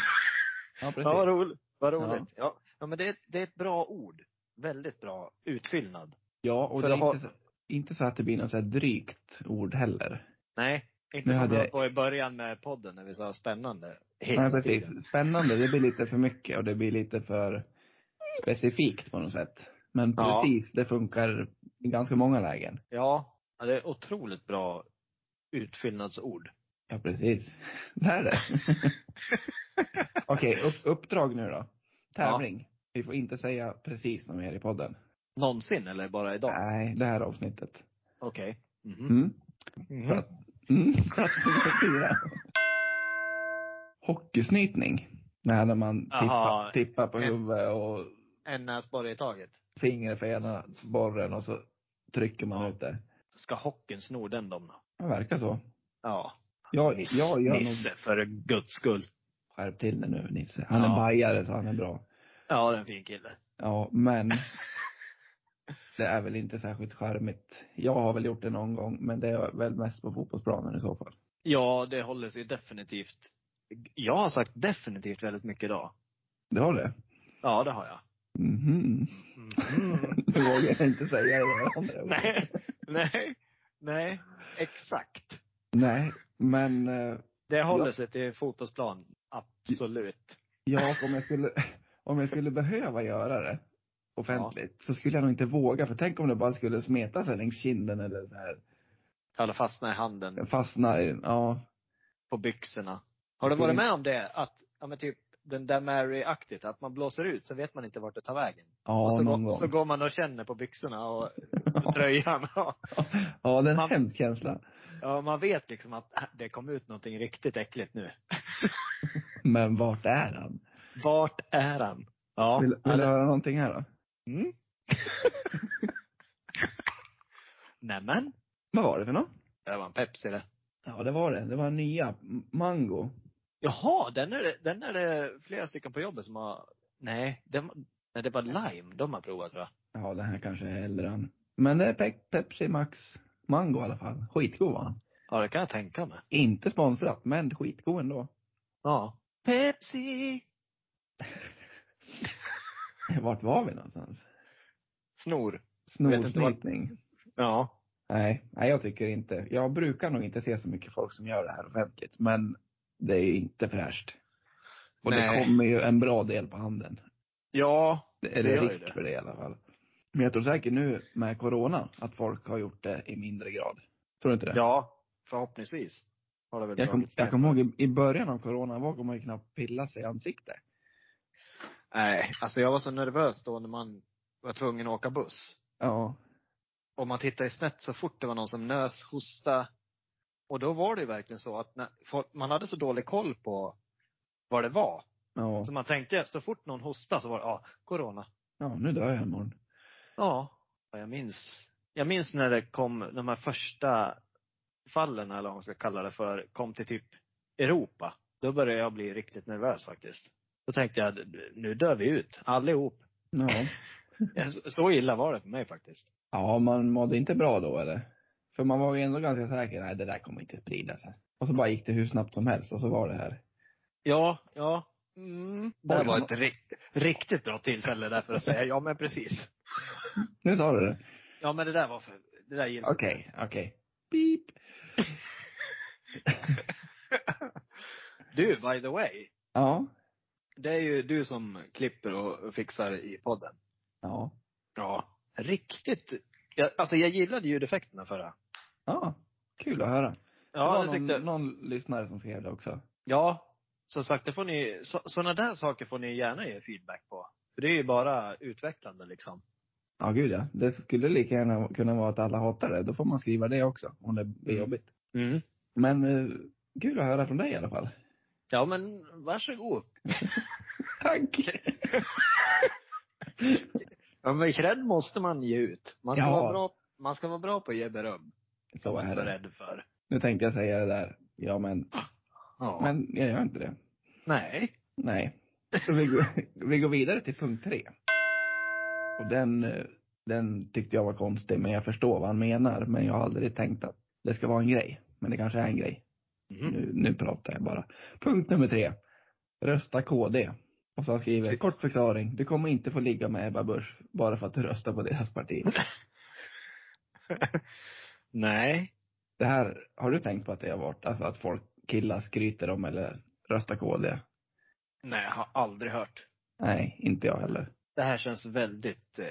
Speaker 2: Ja, vad
Speaker 1: precis.
Speaker 2: roligt. Vad roligt. Ja. ja. men det är, det är ett bra ord. Väldigt bra utfyllnad.
Speaker 1: Ja, och
Speaker 2: För
Speaker 1: det är
Speaker 2: det har-
Speaker 1: inte så, inte så att det blir något så här drygt ord heller.
Speaker 2: Nej, inte
Speaker 1: Nu
Speaker 2: som
Speaker 1: hade
Speaker 2: vi
Speaker 1: jag-
Speaker 2: höll på i början med podden när vi sa spännande.
Speaker 1: Nej,
Speaker 2: Hela tiden.
Speaker 1: precis. Spännande, det blir lite för mycket och det blir lite för specifikt på något sätt. Men
Speaker 2: Ja.
Speaker 1: precis, det funkar i ganska många lägen.
Speaker 2: Ja, ja, det är otroligt bra utfyllnadsord.
Speaker 1: Ja, precis. Det här är det. Okej, upp, uppdrag nu då. Tävling. Vi får inte säga precis något mer i podden.
Speaker 2: Någonsin eller bara idag?
Speaker 1: Nej, det här avsnittet.
Speaker 2: Okej. Mhm.
Speaker 1: Mm.
Speaker 2: Mhm.
Speaker 1: Mm. Fyra. Hockeysnytning. Nej, när man tippar,
Speaker 2: Jaha.
Speaker 1: tippar på
Speaker 2: En-
Speaker 1: huvudet och
Speaker 2: En näsborre i taget.
Speaker 1: fingret för ena borren och så trycker man
Speaker 2: Ja.
Speaker 1: ut det.
Speaker 2: Ska hockeyn sno den dem då?
Speaker 1: Det verkar så.
Speaker 2: Ja.
Speaker 1: Jag,
Speaker 2: Nisse,
Speaker 1: jag gör nog...
Speaker 2: Nisse för guds skull.
Speaker 1: Skärp till dig nu Nisse. Han är
Speaker 2: Ja.
Speaker 1: bajare så han är bra.
Speaker 2: Ja, det är en fin kille.
Speaker 1: Ja, men det är väl inte särskilt charmigt. Jag har väl gjort det någon gång, men det är väl mest på fotbollsplanen i så fall.
Speaker 2: Ja, det håller sig definitivt. Jag har sagt definitivt väldigt mycket idag.
Speaker 1: Det har det?
Speaker 2: Ja, det har jag.
Speaker 1: Mhm. Nu vågar jag inte säga det andra ordet.
Speaker 2: nej, nej, nej, exakt.
Speaker 1: Nej, men eh,
Speaker 2: Det håller sig till fotbollsplan. Absolut.
Speaker 1: jag, om jag skulle, om jag skulle behöva göra det offentligt så skulle jag nog inte våga. För tänk om det bara skulle smeta sig längs kinden eller så här.
Speaker 2: Kalle fastnar i handen.
Speaker 1: Fastna i, ja.
Speaker 2: på byxorna. Har du varit med om det? Att, ja men typ den där Mary-aktigt, att man blåser ut, så vet man inte vart det tar vägen.
Speaker 1: Ja,
Speaker 2: och så,
Speaker 1: någon
Speaker 2: går,
Speaker 1: gång.
Speaker 2: så går man och känner på byxorna och tröjan. Ja.
Speaker 1: Ja, det är en
Speaker 2: Man-
Speaker 1: hemsk känsla.
Speaker 2: ja, man vet liksom att äh, det kom ut någonting riktigt äckligt nu.
Speaker 1: Men vart är han?
Speaker 2: Vart är han? Ja.
Speaker 1: Vill,
Speaker 2: ja,
Speaker 1: vill du
Speaker 2: det-
Speaker 1: höra någonting här då?
Speaker 2: mm. Nämen,
Speaker 1: Vad var det för något?
Speaker 2: det var en Pepsi det.
Speaker 1: Ja, det var det. Det var en nya. M- Mango.
Speaker 2: Jaha, den är det, den är det flera stycken på jobbet som har, nej, den, nej det var lime de har provat tror jag.
Speaker 1: Ja, den här kanske är äldre än. Men det är Pe- Pepsi Max Mango i alla fall. Skitgod va?
Speaker 2: Ja, det kan jag tänka mig.
Speaker 1: Inte sponsrat, men skitgod ändå.
Speaker 2: Ja. Pepsi!
Speaker 1: Vart var vi någonstans?
Speaker 2: Snor. vet inte vart-
Speaker 1: Snorsnytning.
Speaker 2: Ja.
Speaker 1: Nej, nej jag tycker inte. Jag brukar nog inte se så mycket folk som gör det här offentligt, men det är ju inte fräscht. Och det
Speaker 2: Nej.
Speaker 1: kommer ju en bra del på handen.
Speaker 2: Ja.
Speaker 1: Det är
Speaker 2: Det
Speaker 1: det
Speaker 2: gör ju
Speaker 1: risk
Speaker 2: det.
Speaker 1: för det i alla fall. Men jag tror säkert nu med corona att folk har gjort det i mindre grad. Tror du inte det?
Speaker 2: Ja. Förhoppningsvis. Har det väl
Speaker 1: Jag, kom,
Speaker 2: dragits
Speaker 1: jag
Speaker 2: ner.
Speaker 1: kommer ihåg i- i början av corona, var kom man ju knappt pilla sig i ansiktet.
Speaker 2: Nej, alltså jag var så nervös då när man var tvungen att åka buss.
Speaker 1: Ja.
Speaker 2: Och man tittade snett så fort det var någon som nös, hosta. Och då var det ju verkligen så att när, folk, man hade så dålig koll på vad det var.
Speaker 1: Ja.
Speaker 2: Så man tänkte, så fort någon hostade så var det, ja, corona.
Speaker 1: Ja, nu dör jag imorgon.
Speaker 2: Ja. ja jag minns, jag minns när det kom, de här första fallen, eller vad man ska kalla det för, kom till typ Europa. Då började jag bli riktigt nervös faktiskt. Då tänkte jag, nu dör vi ut, allihop.
Speaker 1: Ja.
Speaker 2: Ja, så- Så illa var det för mig faktiskt.
Speaker 1: Ja, man mådde inte bra då eller? För man var ju ändå ganska säker, nej det där kommer inte sprida sig. Och så bara gick det hur snabbt som helst och så var det här.
Speaker 2: Ja, ja. Mm. Det här
Speaker 1: Oj,
Speaker 2: var
Speaker 1: ja.
Speaker 2: ett rikt, riktigt bra tillfälle där för att säga, ja men precis.
Speaker 1: Nu sa du det.
Speaker 2: Ja men det där var för, det där gills
Speaker 1: Okej, okej. Beep.
Speaker 2: Du, by the way.
Speaker 1: Ja.
Speaker 2: Det är ju du som klipper och fixar i podden.
Speaker 1: Ja.
Speaker 2: Ja. Riktigt. Jag, alltså jag gillade ljudeffekterna förra.
Speaker 1: Ja. Kul att höra. det
Speaker 2: Ja,
Speaker 1: var
Speaker 2: det
Speaker 1: någon,
Speaker 2: tyckte jag.
Speaker 1: någon lyssnare som skrev det också.
Speaker 2: Ja, som sagt, det får ni, så, sådana där saker får ni gärna ge feedback på. För det är ju bara utvecklande liksom.
Speaker 1: Ja, gud ja. Det skulle lika gärna kunna vara att alla hatar det. Då får man skriva det också, om det blir jobbigt.
Speaker 2: Mm.
Speaker 1: Men eh, kul att höra från dig i alla fall.
Speaker 2: Ja, men varsågod.
Speaker 1: Tack!
Speaker 2: Ja, men cred måste man ge ut. Man ska,
Speaker 1: Ja.
Speaker 2: vara, bra, man ska vara bra på att ge beröm.
Speaker 1: Så är
Speaker 2: Jag är
Speaker 1: det.
Speaker 2: rädd för.
Speaker 1: Nu tänkte jag säga det där. Ja, men,
Speaker 2: Ja.
Speaker 1: men jag gör inte det.
Speaker 2: Nej.
Speaker 1: Nej. Så vi, går, vi går vidare till punkt tre. Och den, eh, den tyckte jag var konstig, men jag förstår vad han menar. Men jag har aldrig tänkt att det ska vara en grej. Men det kanske är en grej.
Speaker 2: Mhm.
Speaker 1: Nu, nu pratar jag bara. Punkt nummer tre. Rösta KD. Och så skriver jag, kort förklaring. Du kommer inte få ligga med Ebba Busch bara för att du röstar på deras parti.
Speaker 2: Nej.
Speaker 1: Det här, har du tänkt på att det har varit, alltså att folk, killar skryter om eller röstar KD?
Speaker 2: Nej, jag har aldrig hört.
Speaker 1: Nej, inte jag heller.
Speaker 2: Det här känns väldigt eh,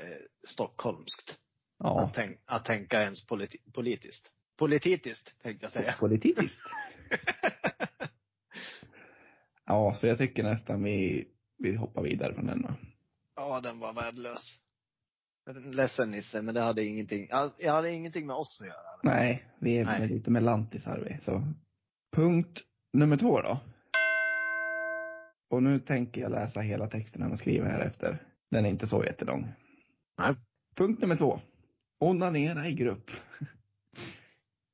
Speaker 2: stockholmskt.
Speaker 1: Ja.
Speaker 2: Att, tänk, att tänka ens politi- politiskt. Politiskt, tänkte jag säga.
Speaker 1: Politiskt. ja, så jag tycker nästan vi, vi hoppar vidare från den va.
Speaker 2: Ja, den var värdelös. Ledsen Nisse, men det hade ingenting, all- jag hade ingenting med oss att göra.
Speaker 1: Nej, vi är
Speaker 2: Nej.
Speaker 1: väl lite melantisar vi. Så. Punkt nummer två då. Och nu tänker jag läsa hela texten han har skrivit här efter. Den är inte så jättelång.
Speaker 2: Nej.
Speaker 1: Punkt nummer två. Onanera i grupp.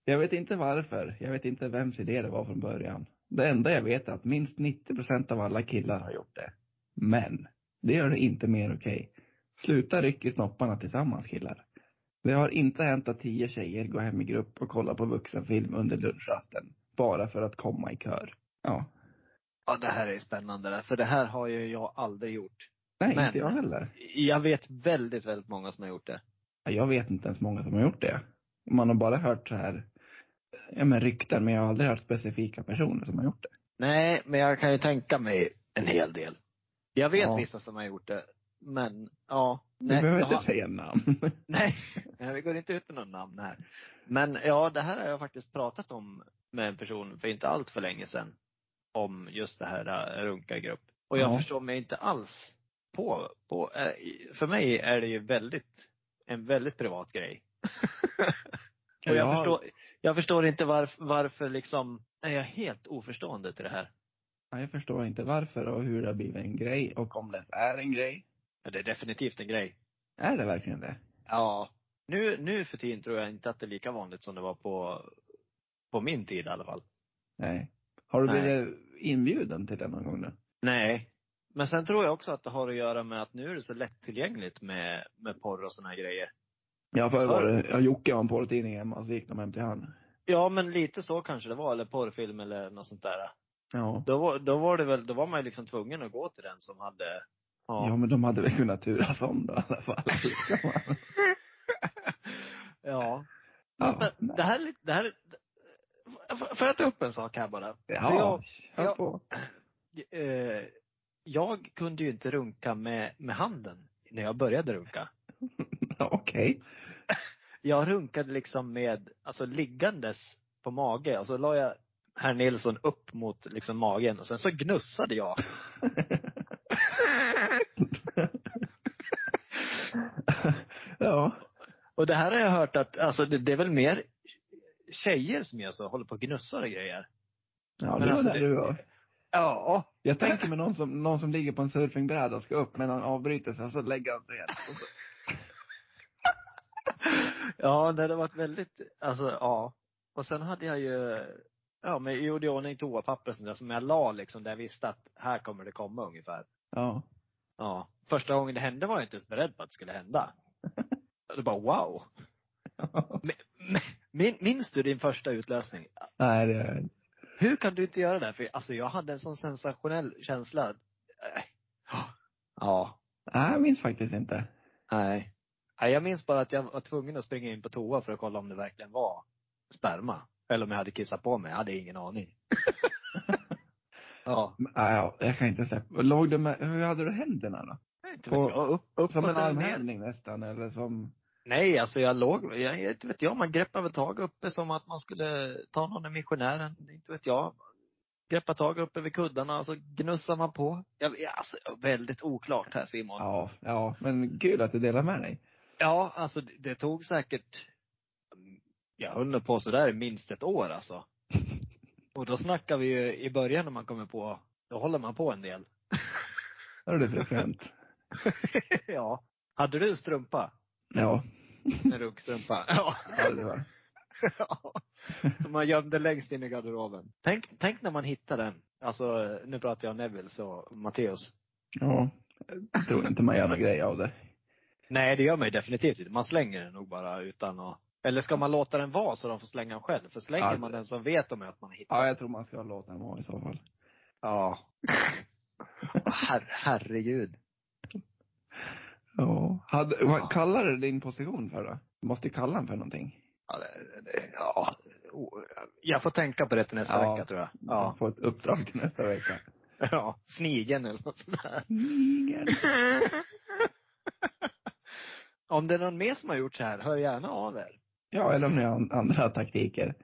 Speaker 1: Jag vet inte varför. Jag vet inte vems idé det var från början. Det enda jag vet är att minst 90 procent av alla killar har gjort det. Men det gör det inte mer okej. Sluta ryck i snopparna tillsammans killar. Det har inte hänt att tio tjejer går hem i grupp och kollar på vuxenfilm under lunchrasten. Bara för att komma i kör. Ja.
Speaker 2: Ja, det här är spännande, där, för det här har ju jag aldrig gjort.
Speaker 1: Nej,
Speaker 2: Men-
Speaker 1: inte jag heller.
Speaker 2: Jag vet väldigt, väldigt många som har gjort det.
Speaker 1: Ja, Jag vet inte ens många som har gjort det. Man har bara hört så här, ja men rykten, men jag har aldrig hört specifika personer som har gjort det.
Speaker 2: Nej, men jag kan ju tänka mig en hel del. Jag vet
Speaker 1: Ja.
Speaker 2: vissa som har gjort det, men ja.
Speaker 1: Vi behöver
Speaker 2: jag
Speaker 1: inte
Speaker 2: har-
Speaker 1: säga namn.
Speaker 2: Nej, vi går inte ut med någon namn här. Men ja, det här har jag faktiskt pratat om med en person för inte allt för länge sedan. Om just det här eh, runka i grupp. Och jag
Speaker 1: Ja.
Speaker 2: förstår mig inte alls på, på eh, i- för mig är det ju väldigt, en väldigt privat grej. Och jag,
Speaker 1: Ja.
Speaker 2: förstår, jag förstår inte varf, varför liksom, är jag helt oförstående till det här.
Speaker 1: Ja, jag förstår inte varför och hur det har blivit en grej och om det ens är en grej.
Speaker 2: Men det är definitivt en grej.
Speaker 1: Är det verkligen det?
Speaker 2: Ja. Nu, nu för tiden tror jag inte att det är lika vanligt som det var på, på min tid i alla fall.
Speaker 1: Nej. Har du blivit inbjuden till det någon gång nu?
Speaker 2: Nej. Men sen tror jag också att det har att göra med att nu är det så lättillgängligt med, med porr och såna här grejer.
Speaker 1: Ja, förr var
Speaker 2: Förr?
Speaker 1: det, ja, Jocke har en porrtidning hemma, så gick de hem till han.
Speaker 2: Ja, men lite så kanske det var, eller porrfilm eller något sånt där.
Speaker 1: Ja.
Speaker 2: Då var, då var det väl, då var man ju liksom tvungen att gå till den som hade,
Speaker 1: Ja.
Speaker 2: ja.
Speaker 1: men de hade väl kunnat turas om då i alla fall.
Speaker 2: ja.
Speaker 1: Ja,
Speaker 2: Men
Speaker 1: nej.
Speaker 2: det här, är lite- det här, är- Får- får jag ta upp en sak här bara? För
Speaker 1: ja, kör
Speaker 2: jag-
Speaker 1: på.
Speaker 2: Jag, eh, jag kunde ju inte runka med, med handen när jag började runka.
Speaker 1: Ja, Okej.
Speaker 2: jag runkade liksom med, alltså liggandes på mage och så la jag herr Nilsson upp mot liksom magen och sen så gnussade jag.
Speaker 1: ja.
Speaker 2: och det här har jag hört att, alltså det, det är väl mer tjejer som jag så håller på och gnussar och grejer.
Speaker 1: Ja,
Speaker 2: Men
Speaker 1: det var
Speaker 2: alltså
Speaker 1: där
Speaker 2: det-
Speaker 1: du var.
Speaker 2: Ja.
Speaker 1: Jag tänker mig någon som, någon som ligger på en surfingbräda och ska upp, men han avbryter sig, så lägger han sig igen. Och så-
Speaker 2: Ja, det hade varit väldigt, alltså ja. Och sen hade jag ju, ja men jag gjorde i ordning toapapper och sånt där som jag la liksom där jag visste att här kommer det komma ungefär.
Speaker 1: Ja.
Speaker 2: Ja. Första gången det hände var jag inte ens beredd på att det skulle hända. Det bara wow. Min, minns du din första utlösning?
Speaker 1: Nej, det är...
Speaker 2: Hur kan du inte göra det? här? För alltså jag hade en sån sensationell känsla. Eh, Ja.
Speaker 1: Nej, jag minns faktiskt inte.
Speaker 2: Nej. Nej, jag minns bara att jag var tvungen att springa in på toa för att kolla om det verkligen var sperma. Eller om jag hade kissat på mig. Jag hade ingen aning. ja.
Speaker 1: Men, nej, Ja, jag kan inte släppa. Låg du med, hur hade du händerna då?
Speaker 2: Inte
Speaker 1: På-
Speaker 2: vet jag. Upp, upp
Speaker 1: Som en
Speaker 2: eller ner?
Speaker 1: armhävning nästan, eller som?
Speaker 2: Nej, alltså jag låg, jag, inte vet jag, man greppade väl tag uppe som att man skulle ta någon i missionären, inte vet jag. Greppa tag uppe vid kuddarna och så gnussar man på. Jag, jag- alltså, väldigt oklart här Simon.
Speaker 1: Ja, ja, men kul att du delar med dig.
Speaker 2: Ja, alltså det, det tog säkert, jag höll på sådär minst ett år alltså. Och då snackar vi ju i början när man kommer på, då håller man på en del.
Speaker 1: Hör du, det är främt.
Speaker 2: ja. Hade du strumpa?
Speaker 1: Ja.
Speaker 2: En runkstrumpa? Ja.
Speaker 1: ja, det var.
Speaker 2: Ja. Som man gömde längst in i garderoben. Tänk, tänk när man hittar den. Alltså, nu pratar jag Neville och Matteus.
Speaker 1: Ja. Jag tror inte man gör någon grej av det.
Speaker 2: Nej, det gör man ju definitivt inte. Man slänger den nog bara utan att eller ska man låta den vara så de får slänga den själv? För slänger
Speaker 1: Ja.
Speaker 2: man den så vet de ju att man hittar
Speaker 1: Ja, jag tror man ska låta den vara i så fall.
Speaker 2: Ja. Her, herregud.
Speaker 1: Ja. Hade, vad kallar du din position för då? Du måste ju kalla den för någonting.
Speaker 2: Ja, det- det- ja. O- Jag får tänka på det till nästa
Speaker 1: Ja.
Speaker 2: vecka tror jag.
Speaker 1: Ja.
Speaker 2: Ja.
Speaker 1: Få ett uppdrag till nästa vecka.
Speaker 2: ja. Snigen eller något sånt där.
Speaker 1: Ingen.
Speaker 2: Om det är någon mer som har gjort så här, hör gärna av er.
Speaker 1: Ja, eller om ni har an- andra taktiker.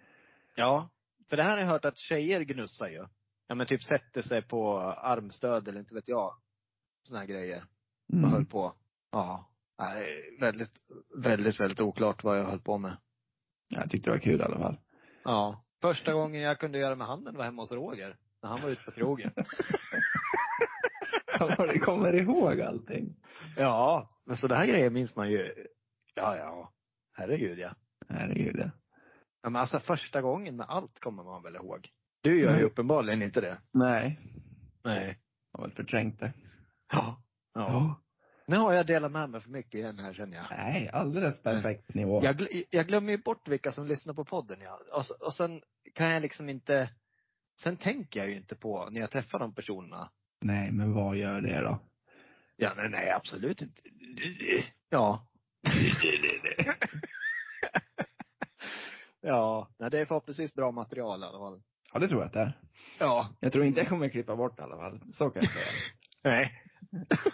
Speaker 2: Ja. För det här har jag hört att tjejer gnussar ju. Ja men typ sätter sig på armstöd eller inte vet jag. Såna här grejer. och höll
Speaker 1: Mm.
Speaker 2: på. Ja. Nej, väldigt, väldigt, väldigt oklart vad jag höll på med.
Speaker 1: Jag tyckte det var kul i alla fall.
Speaker 2: Ja. Första gången jag kunde göra med handen var hemma hos Roger. När han var ute på krogen.
Speaker 1: Ja, vad du kommer ihåg allting.
Speaker 2: ja. Men så det här grejer minns man ju. Ja, ja. Herregud ja.
Speaker 1: Herregud. ja.
Speaker 2: ja men alltså första gången med allt kommer man väl ihåg. Du gör ju
Speaker 1: Nej.
Speaker 2: uppenbarligen inte det.
Speaker 1: Nej.
Speaker 2: Nej.
Speaker 1: Jag har väl förträngt det.
Speaker 2: Ja. ja.
Speaker 1: Ja.
Speaker 2: Nu har jag delat med mig för mycket igen här känner jag.
Speaker 1: Nej, alldeles perfekt nivå.
Speaker 2: Jag, gl- jag glömmer ju bort vilka som lyssnar på podden. Ja. Och, s- och sen kan jag liksom inte, sen tänker jag ju inte på när jag träffar de personerna.
Speaker 1: Nej, men vad gör det då?
Speaker 2: Ja, nej, nej absolut inte. Ja. ja, nej, det är förhoppningsvis bra material i alla fall.
Speaker 1: Ja, det tror jag att det är.
Speaker 2: Ja.
Speaker 1: Jag tror inte jag kommer klippa bort det i alla fall. Så kan jag säga.
Speaker 2: Nej.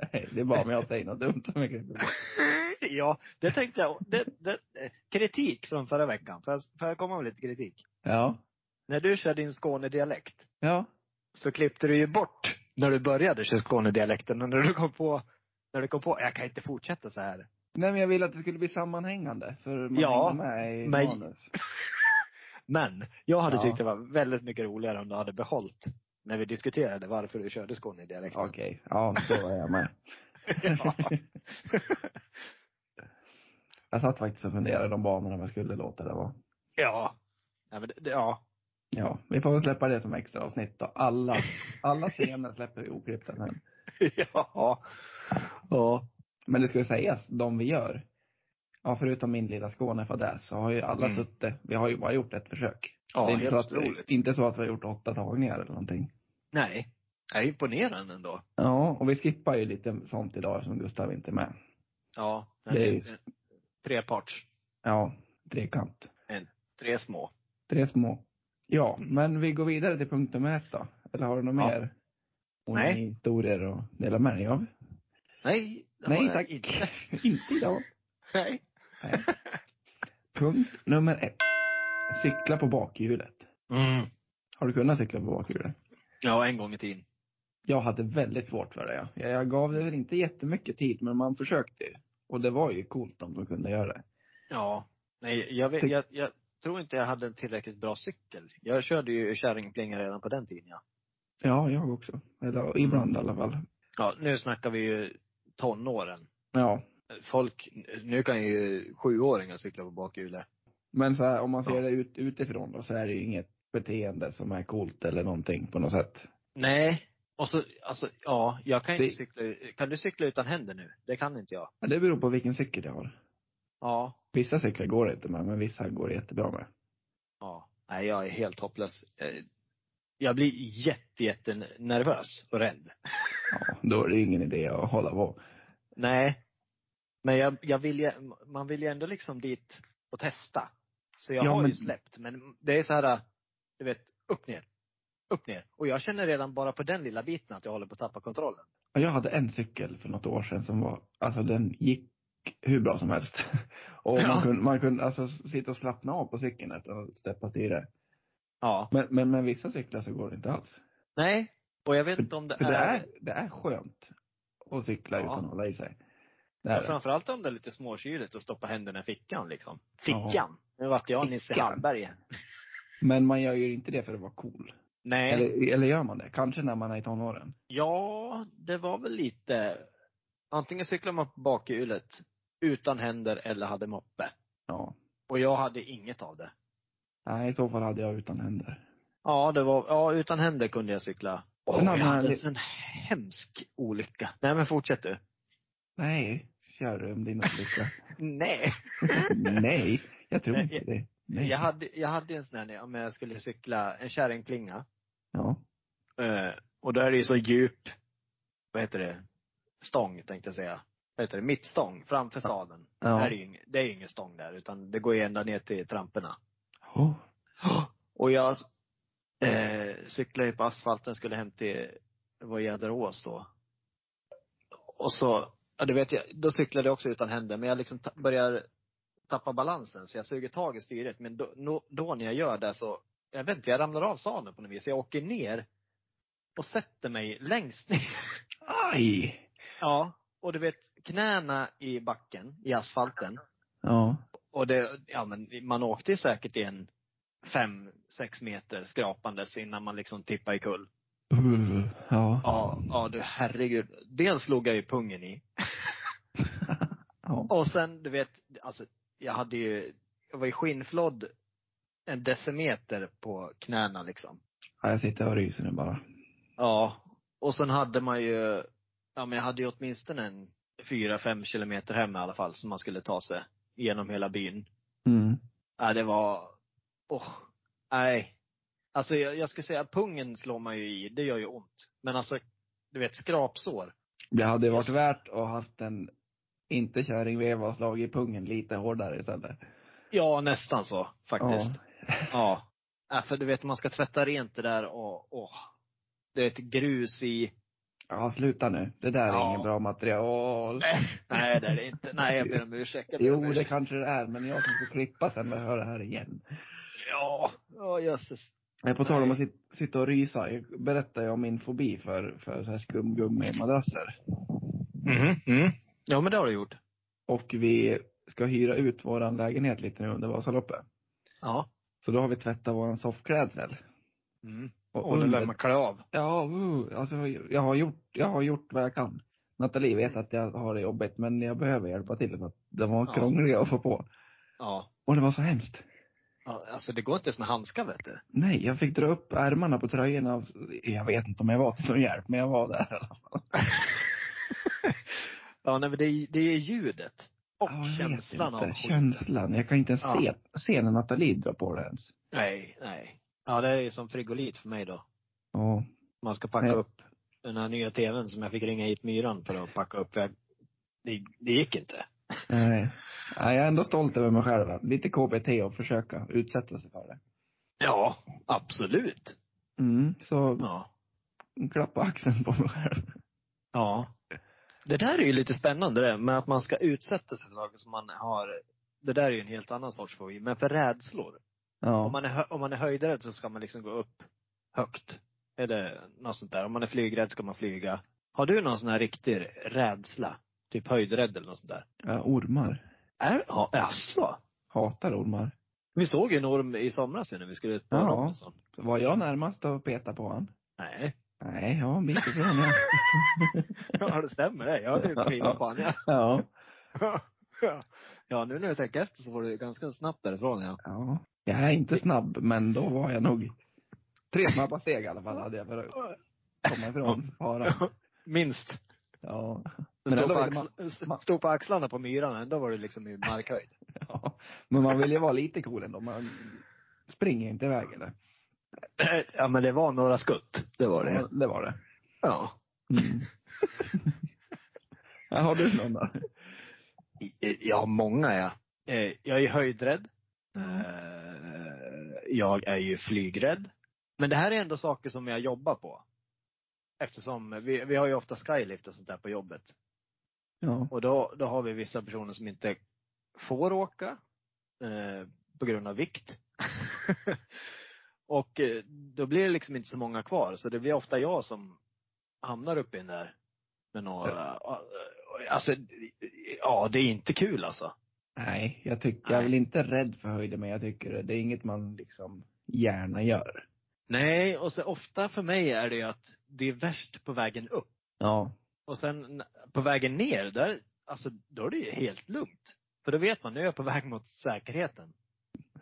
Speaker 1: Nej, det är bara om jag säger något dumt som jag klipper bort.
Speaker 2: ja, det tänkte jag. Det, det, kritik från förra veckan. Får jag, får jag komma med lite kritik?
Speaker 1: Ja.
Speaker 2: När du kör din Skånedialekt.
Speaker 1: Ja.
Speaker 2: så klippte du ju bort när du började köra Skånedialekten och när du kom på, när du kom på, jag kan inte fortsätta så här.
Speaker 1: Nej, men jag ville att det skulle bli sammanhängande. För man
Speaker 2: Ja,
Speaker 1: hänger med i
Speaker 2: men-
Speaker 1: manus.
Speaker 2: Men jag hade
Speaker 1: Ja.
Speaker 2: tyckt det var väldigt mycket roligare om du hade behållit när vi diskuterade varför du körde Skånedialekten.
Speaker 1: Okej. Ja, så är jag med.
Speaker 2: ja.
Speaker 1: Jag satt faktiskt och funderade om banorna vad skulle låta det vara.
Speaker 2: ja. Ja, men det- det, ja.
Speaker 1: Ja, vi får väl släppa det som extra avsnitt då. Alla, alla scener släpper vi oklippta sen.
Speaker 2: ja. Ja.
Speaker 1: Men det ska ju sägas, de vi gör, ja förutom min lilla Skånefadäs, så har ju alla
Speaker 2: Mm.
Speaker 1: suttit, vi har ju bara gjort ett försök.
Speaker 2: Ja,
Speaker 1: det är inte
Speaker 2: helt
Speaker 1: så, att,
Speaker 2: otroligt.
Speaker 1: vi- inte så att vi har gjort åtta tagningar eller någonting.
Speaker 2: Nej. Jag är imponerande ändå.
Speaker 1: Ja, och vi skippar ju lite sånt idag eftersom Gustav inte är med.
Speaker 2: Ja.
Speaker 1: Det är ju-
Speaker 2: eh, Treparts.
Speaker 1: Ja, trekant.
Speaker 2: Tre små.
Speaker 1: Tre små. Ja, men vi går vidare till punkt nummer ett då. Eller har du något
Speaker 2: Ja.
Speaker 1: mer? Och
Speaker 2: Nej.
Speaker 1: ni historier att dela med dig av?
Speaker 2: Nej. det har
Speaker 1: Nej
Speaker 2: jag
Speaker 1: tack.
Speaker 2: Inte.
Speaker 1: inte idag.
Speaker 2: Nej.
Speaker 1: Punkt nummer ett. Cykla på bakhjulet.
Speaker 2: Mm.
Speaker 1: Har du kunnat cykla på bakhjulet?
Speaker 2: Ja, en gång i tiden.
Speaker 1: Jag hade väldigt svårt för det. ja. Jag, jag gav det väl inte jättemycket tid, men man försökte ju. Och det var ju coolt om de kunde göra det.
Speaker 2: Ja. Nej, jag, vet,
Speaker 1: Ty-
Speaker 2: jag, jag tror inte jag hade en tillräckligt bra cykel. Jag körde ju kärringplinga redan på den tiden, ja.
Speaker 1: Ja, jag också. Eller ibland i alla fall.
Speaker 2: Ja, nu snackar vi ju tonåren.
Speaker 1: Ja.
Speaker 2: Folk, nu kan ju sjuåringar cykla på bakhjulet.
Speaker 1: Men så här, om man ser
Speaker 2: Ja.
Speaker 1: det ut, utifrån då, så är det ju inget beteende som är coolt eller någonting på något sätt.
Speaker 2: Nej. Och så, alltså, ja, jag kan inte
Speaker 1: Det-
Speaker 2: cykla, kan du cykla utan händer nu? Det kan inte jag.
Speaker 1: Men det beror på vilken cykel jag har.
Speaker 2: Ja.
Speaker 1: Vissa cyklar går det inte med, men vissa går det jättebra med.
Speaker 2: Ja. Nej, jag är helt hopplös. Eh, Jag blir jätte, jätte nervös och rädd.
Speaker 1: Ja, då är det ju ingen idé att hålla på.
Speaker 2: Nej. Men jag, jag vill ju, man vill ju ändå liksom dit och testa. Så jag
Speaker 1: Ja,
Speaker 2: har ju
Speaker 1: men-
Speaker 2: släppt. Men det är så här, du vet, upp ner. Upp ner. Och jag känner redan bara på den lilla biten att jag håller på att tappa kontrollen.
Speaker 1: Ja, Jag hade en cykel för något år sedan som var, alltså den gick hur bra som helst. Och
Speaker 2: Ja.
Speaker 1: man kunde, man kunde alltså sitta och slappna av på cykeln efter att steppa styre.
Speaker 2: Ja.
Speaker 1: Men, men, men vissa cyklar så går det inte alls.
Speaker 2: Nej. Och jag vet inte om det
Speaker 1: För det
Speaker 2: är...
Speaker 1: är, det är skönt att cykla
Speaker 2: Ja.
Speaker 1: utan att hålla i sig. Det är
Speaker 2: Ja,
Speaker 1: det.
Speaker 2: framförallt om det är lite småkyligt och stoppa händerna i fickan liksom.
Speaker 1: Ja.
Speaker 2: Fickan! Nu vart jag Nisse
Speaker 1: Fickan.
Speaker 2: Hallberg igen.
Speaker 1: Men man gör ju inte det för att vara cool.
Speaker 2: Nej.
Speaker 1: Eller, eller gör man det? Kanske när man är i tonåren.
Speaker 2: Ja, det var väl lite. Antingen cyklade man på bakhjulet utan händer eller hade moppe.
Speaker 1: Ja.
Speaker 2: Och jag hade inget av det.
Speaker 1: Nej, i så fall hade jag utan händer.
Speaker 2: Ja, det var, ja utan händer kunde jag cykla. Åh,
Speaker 1: Men
Speaker 2: jag
Speaker 1: hade man
Speaker 2: hade
Speaker 1: li-
Speaker 2: en hemsk olycka. Nej men fortsätt du.
Speaker 1: Nej, kör du om din olycka.
Speaker 2: Nej.
Speaker 1: Nej, jag tror
Speaker 2: Nej,
Speaker 1: inte det. Nej.
Speaker 2: Jag hade, jag hade ju en sån här när jag- när jag skulle cykla en kärringklinga.
Speaker 1: Ja.
Speaker 2: Eh, och då är det ju så djup, vad heter det, stång tänkte jag säga. Vad heter det, mittstång framför staden. Det, här är
Speaker 1: Ja.
Speaker 2: ju, ing- det är ju ingen stång där utan det går ju ända ner till tramporna.
Speaker 1: Oh.
Speaker 2: Och jag eh, cyklade ju på asfalten, skulle hem till, det var Gäderås då. Och så, ja du vet, jag, då cyklade jag också utan händer, men jag liksom ta, börjar tappa balansen, så jag suger tag i styret. Men då, nå- då när jag gör det så, jag vet inte, jag ramlar av sadeln på något vis. Jag åker ner och sätter mig längst ner.
Speaker 1: Aj!
Speaker 2: Ja. Och du vet, knäna i backen, i asfalten.
Speaker 1: Ja.
Speaker 2: Och det, ja men man åkte ju säkert i en fem, sex meter skrapandes innan man liksom tippade i kull.
Speaker 1: Uh, Ja.
Speaker 2: Ja, ja du herregud. Dels slog jag ju pungen i.
Speaker 1: Ja.
Speaker 2: Och sen, du vet, alltså jag hade ju, jag var ju skinnflådd en decimeter på knäna liksom.
Speaker 1: Ja, Jag sitter och ryser nu bara.
Speaker 2: Ja. Och sen hade man ju, ja men jag hade ju åtminstone en fyra, fem kilometer hem i alla fall som man skulle ta sig genom hela byn.
Speaker 1: Mm.
Speaker 2: Ja, det var, åh, nej. Alltså jag, jag skulle säga att pungen slår man ju i, det gör ju ont. Men alltså, du vet skrapsår.
Speaker 1: Det hade varit värt att haft en, inte kärringveva och slagit pungen lite hårdare istället.
Speaker 2: Ja, nästan så faktiskt.
Speaker 1: Ja.
Speaker 2: Ja. Ja, för du vet man ska tvätta rent det där och, åh. Det är ett grus i,
Speaker 1: Ja, sluta nu. Det där är
Speaker 2: Ja.
Speaker 1: ingen bra material.
Speaker 2: nej det är det inte, nej jag ber om ursäkt. Jag ber
Speaker 1: Jo,
Speaker 2: om
Speaker 1: det
Speaker 2: ursäkt.
Speaker 1: kanske det är, men jag tänker klippa sen när jag hör det här igen.
Speaker 2: Ja, ja jösses.
Speaker 1: Nej, På tal om att sit- sitta och rysa, jag berättade jag om min fobi för, för så här skumgummi-madrasser. Mm-hmm,
Speaker 2: Mm, mm. Ja men det har du gjort.
Speaker 1: Och vi ska hyra ut våran lägenhet lite nu under Vasaloppet.
Speaker 2: Ja.
Speaker 1: Så då har vi tvättat våran soffklädsel.
Speaker 2: Mm.
Speaker 1: Och
Speaker 2: Och nu
Speaker 1: under-
Speaker 2: lär man klä av.
Speaker 1: Ja, uh, alltså jag har, gjort, jag har gjort vad jag kan. Nathalie vet att jag har det jobbigt, men jag behöver hjälpa till för att de var
Speaker 2: Ja.
Speaker 1: krångliga att få på.
Speaker 2: Ja.
Speaker 1: Och det var så hemskt.
Speaker 2: Ja, Alltså det går inte ens med handskar vet du.
Speaker 1: Nej, jag fick dra upp ärmarna på tröjorna. Av, jag vet inte om jag var till någon hjälp, men jag var där. alltså.
Speaker 2: Ja, nej, men det, är- det är ljudet. Och
Speaker 1: Ja, jag vet
Speaker 2: känslan av
Speaker 1: inte.
Speaker 2: skiten.
Speaker 1: Känslan. Jag kan inte ens
Speaker 2: Ja.
Speaker 1: se, se när Nathalie drar på det ens.
Speaker 2: Nej, nej. Ja, det är ju som frigolit för mig då.
Speaker 1: Ja.
Speaker 2: Man ska packa
Speaker 1: Nej.
Speaker 2: upp den här nya tvn som jag fick ringa hit myran för att packa upp. Jag, det, det gick inte.
Speaker 1: Nej. Nej, jag är ändå stolt över mig själv. Lite KBT och försöka utsätta sig för det.
Speaker 2: Ja, absolut.
Speaker 1: Mm, så
Speaker 2: Ja.
Speaker 1: klappa axeln på mig själv.
Speaker 2: Ja. Det där är ju lite spännande det, med att man ska utsätta sig för saker som man har. Det där är ju en helt annan sorts fobi. Men för rädslor. Om,
Speaker 1: Ja.
Speaker 2: man är, hö- om man är höjdrädd så ska man liksom gå upp högt. Eller något sånt där. Om man är flygrädd ska man flyga. Har du någon sån här riktig rädsla? Typ höjdrädd eller något sånt där?
Speaker 1: ja. Ormar.
Speaker 2: Är, ja, asså.
Speaker 1: Hatar ormar.
Speaker 2: Vi såg ju en orm i somras ju när vi skulle ut på
Speaker 1: Ja.
Speaker 2: Robinson.
Speaker 1: Var jag närmast att peta på han?
Speaker 2: Nej.
Speaker 1: Nej, jag var en bit ifrån jag.
Speaker 2: Ja, det stämmer det. Jag hade ju skivat på honom.
Speaker 1: Ja.
Speaker 2: Ja. ja, nu när jag tänker efter så var du ganska snabbt därifrån ja.
Speaker 1: ja. Jag är inte snabb, men då var jag nog tre snabba steg i alla fall hade jag för att komma ifrån faran.
Speaker 2: Minst.
Speaker 1: Ja. Men
Speaker 2: Stod på,
Speaker 1: ändå vill
Speaker 2: axl-
Speaker 1: man-
Speaker 2: stod på axlarna på myrarna, ändå var du liksom i markhöjd.
Speaker 1: ja. Men man vill ju vara lite cool ändå. Man springer inte iväg eller?
Speaker 2: Ja men det var några skutt. Det var
Speaker 1: Ja, det var det.
Speaker 2: Ja.
Speaker 1: Mm. Ja, har du någon då?
Speaker 2: Ja, många ja. Mm. Eh, Jag är ju höjdrädd. Eh, Jag är ju flygrädd. Men det här är ändå saker som jag jobbar på. Eftersom vi, vi har ju ofta skylift och sånt där på jobbet.
Speaker 1: Ja.
Speaker 2: Och då, då har vi vissa personer som inte får åka eh, på grund av vikt. och eh, då blir det liksom inte så många kvar. Så det blir ofta jag som hamnar uppe i den där med några. alltså, ja, det är inte kul alltså.
Speaker 1: Nej, jag tycker, jag är väl inte rädd för höjder, men jag tycker det är inget man liksom gärna gör.
Speaker 2: Nej, och så ofta för mig är det ju att det är värst på vägen upp.
Speaker 1: Ja.
Speaker 2: Och sen på vägen ner, där, alltså, då är det ju helt lugnt. För då vet man, nu är jag på väg mot säkerheten.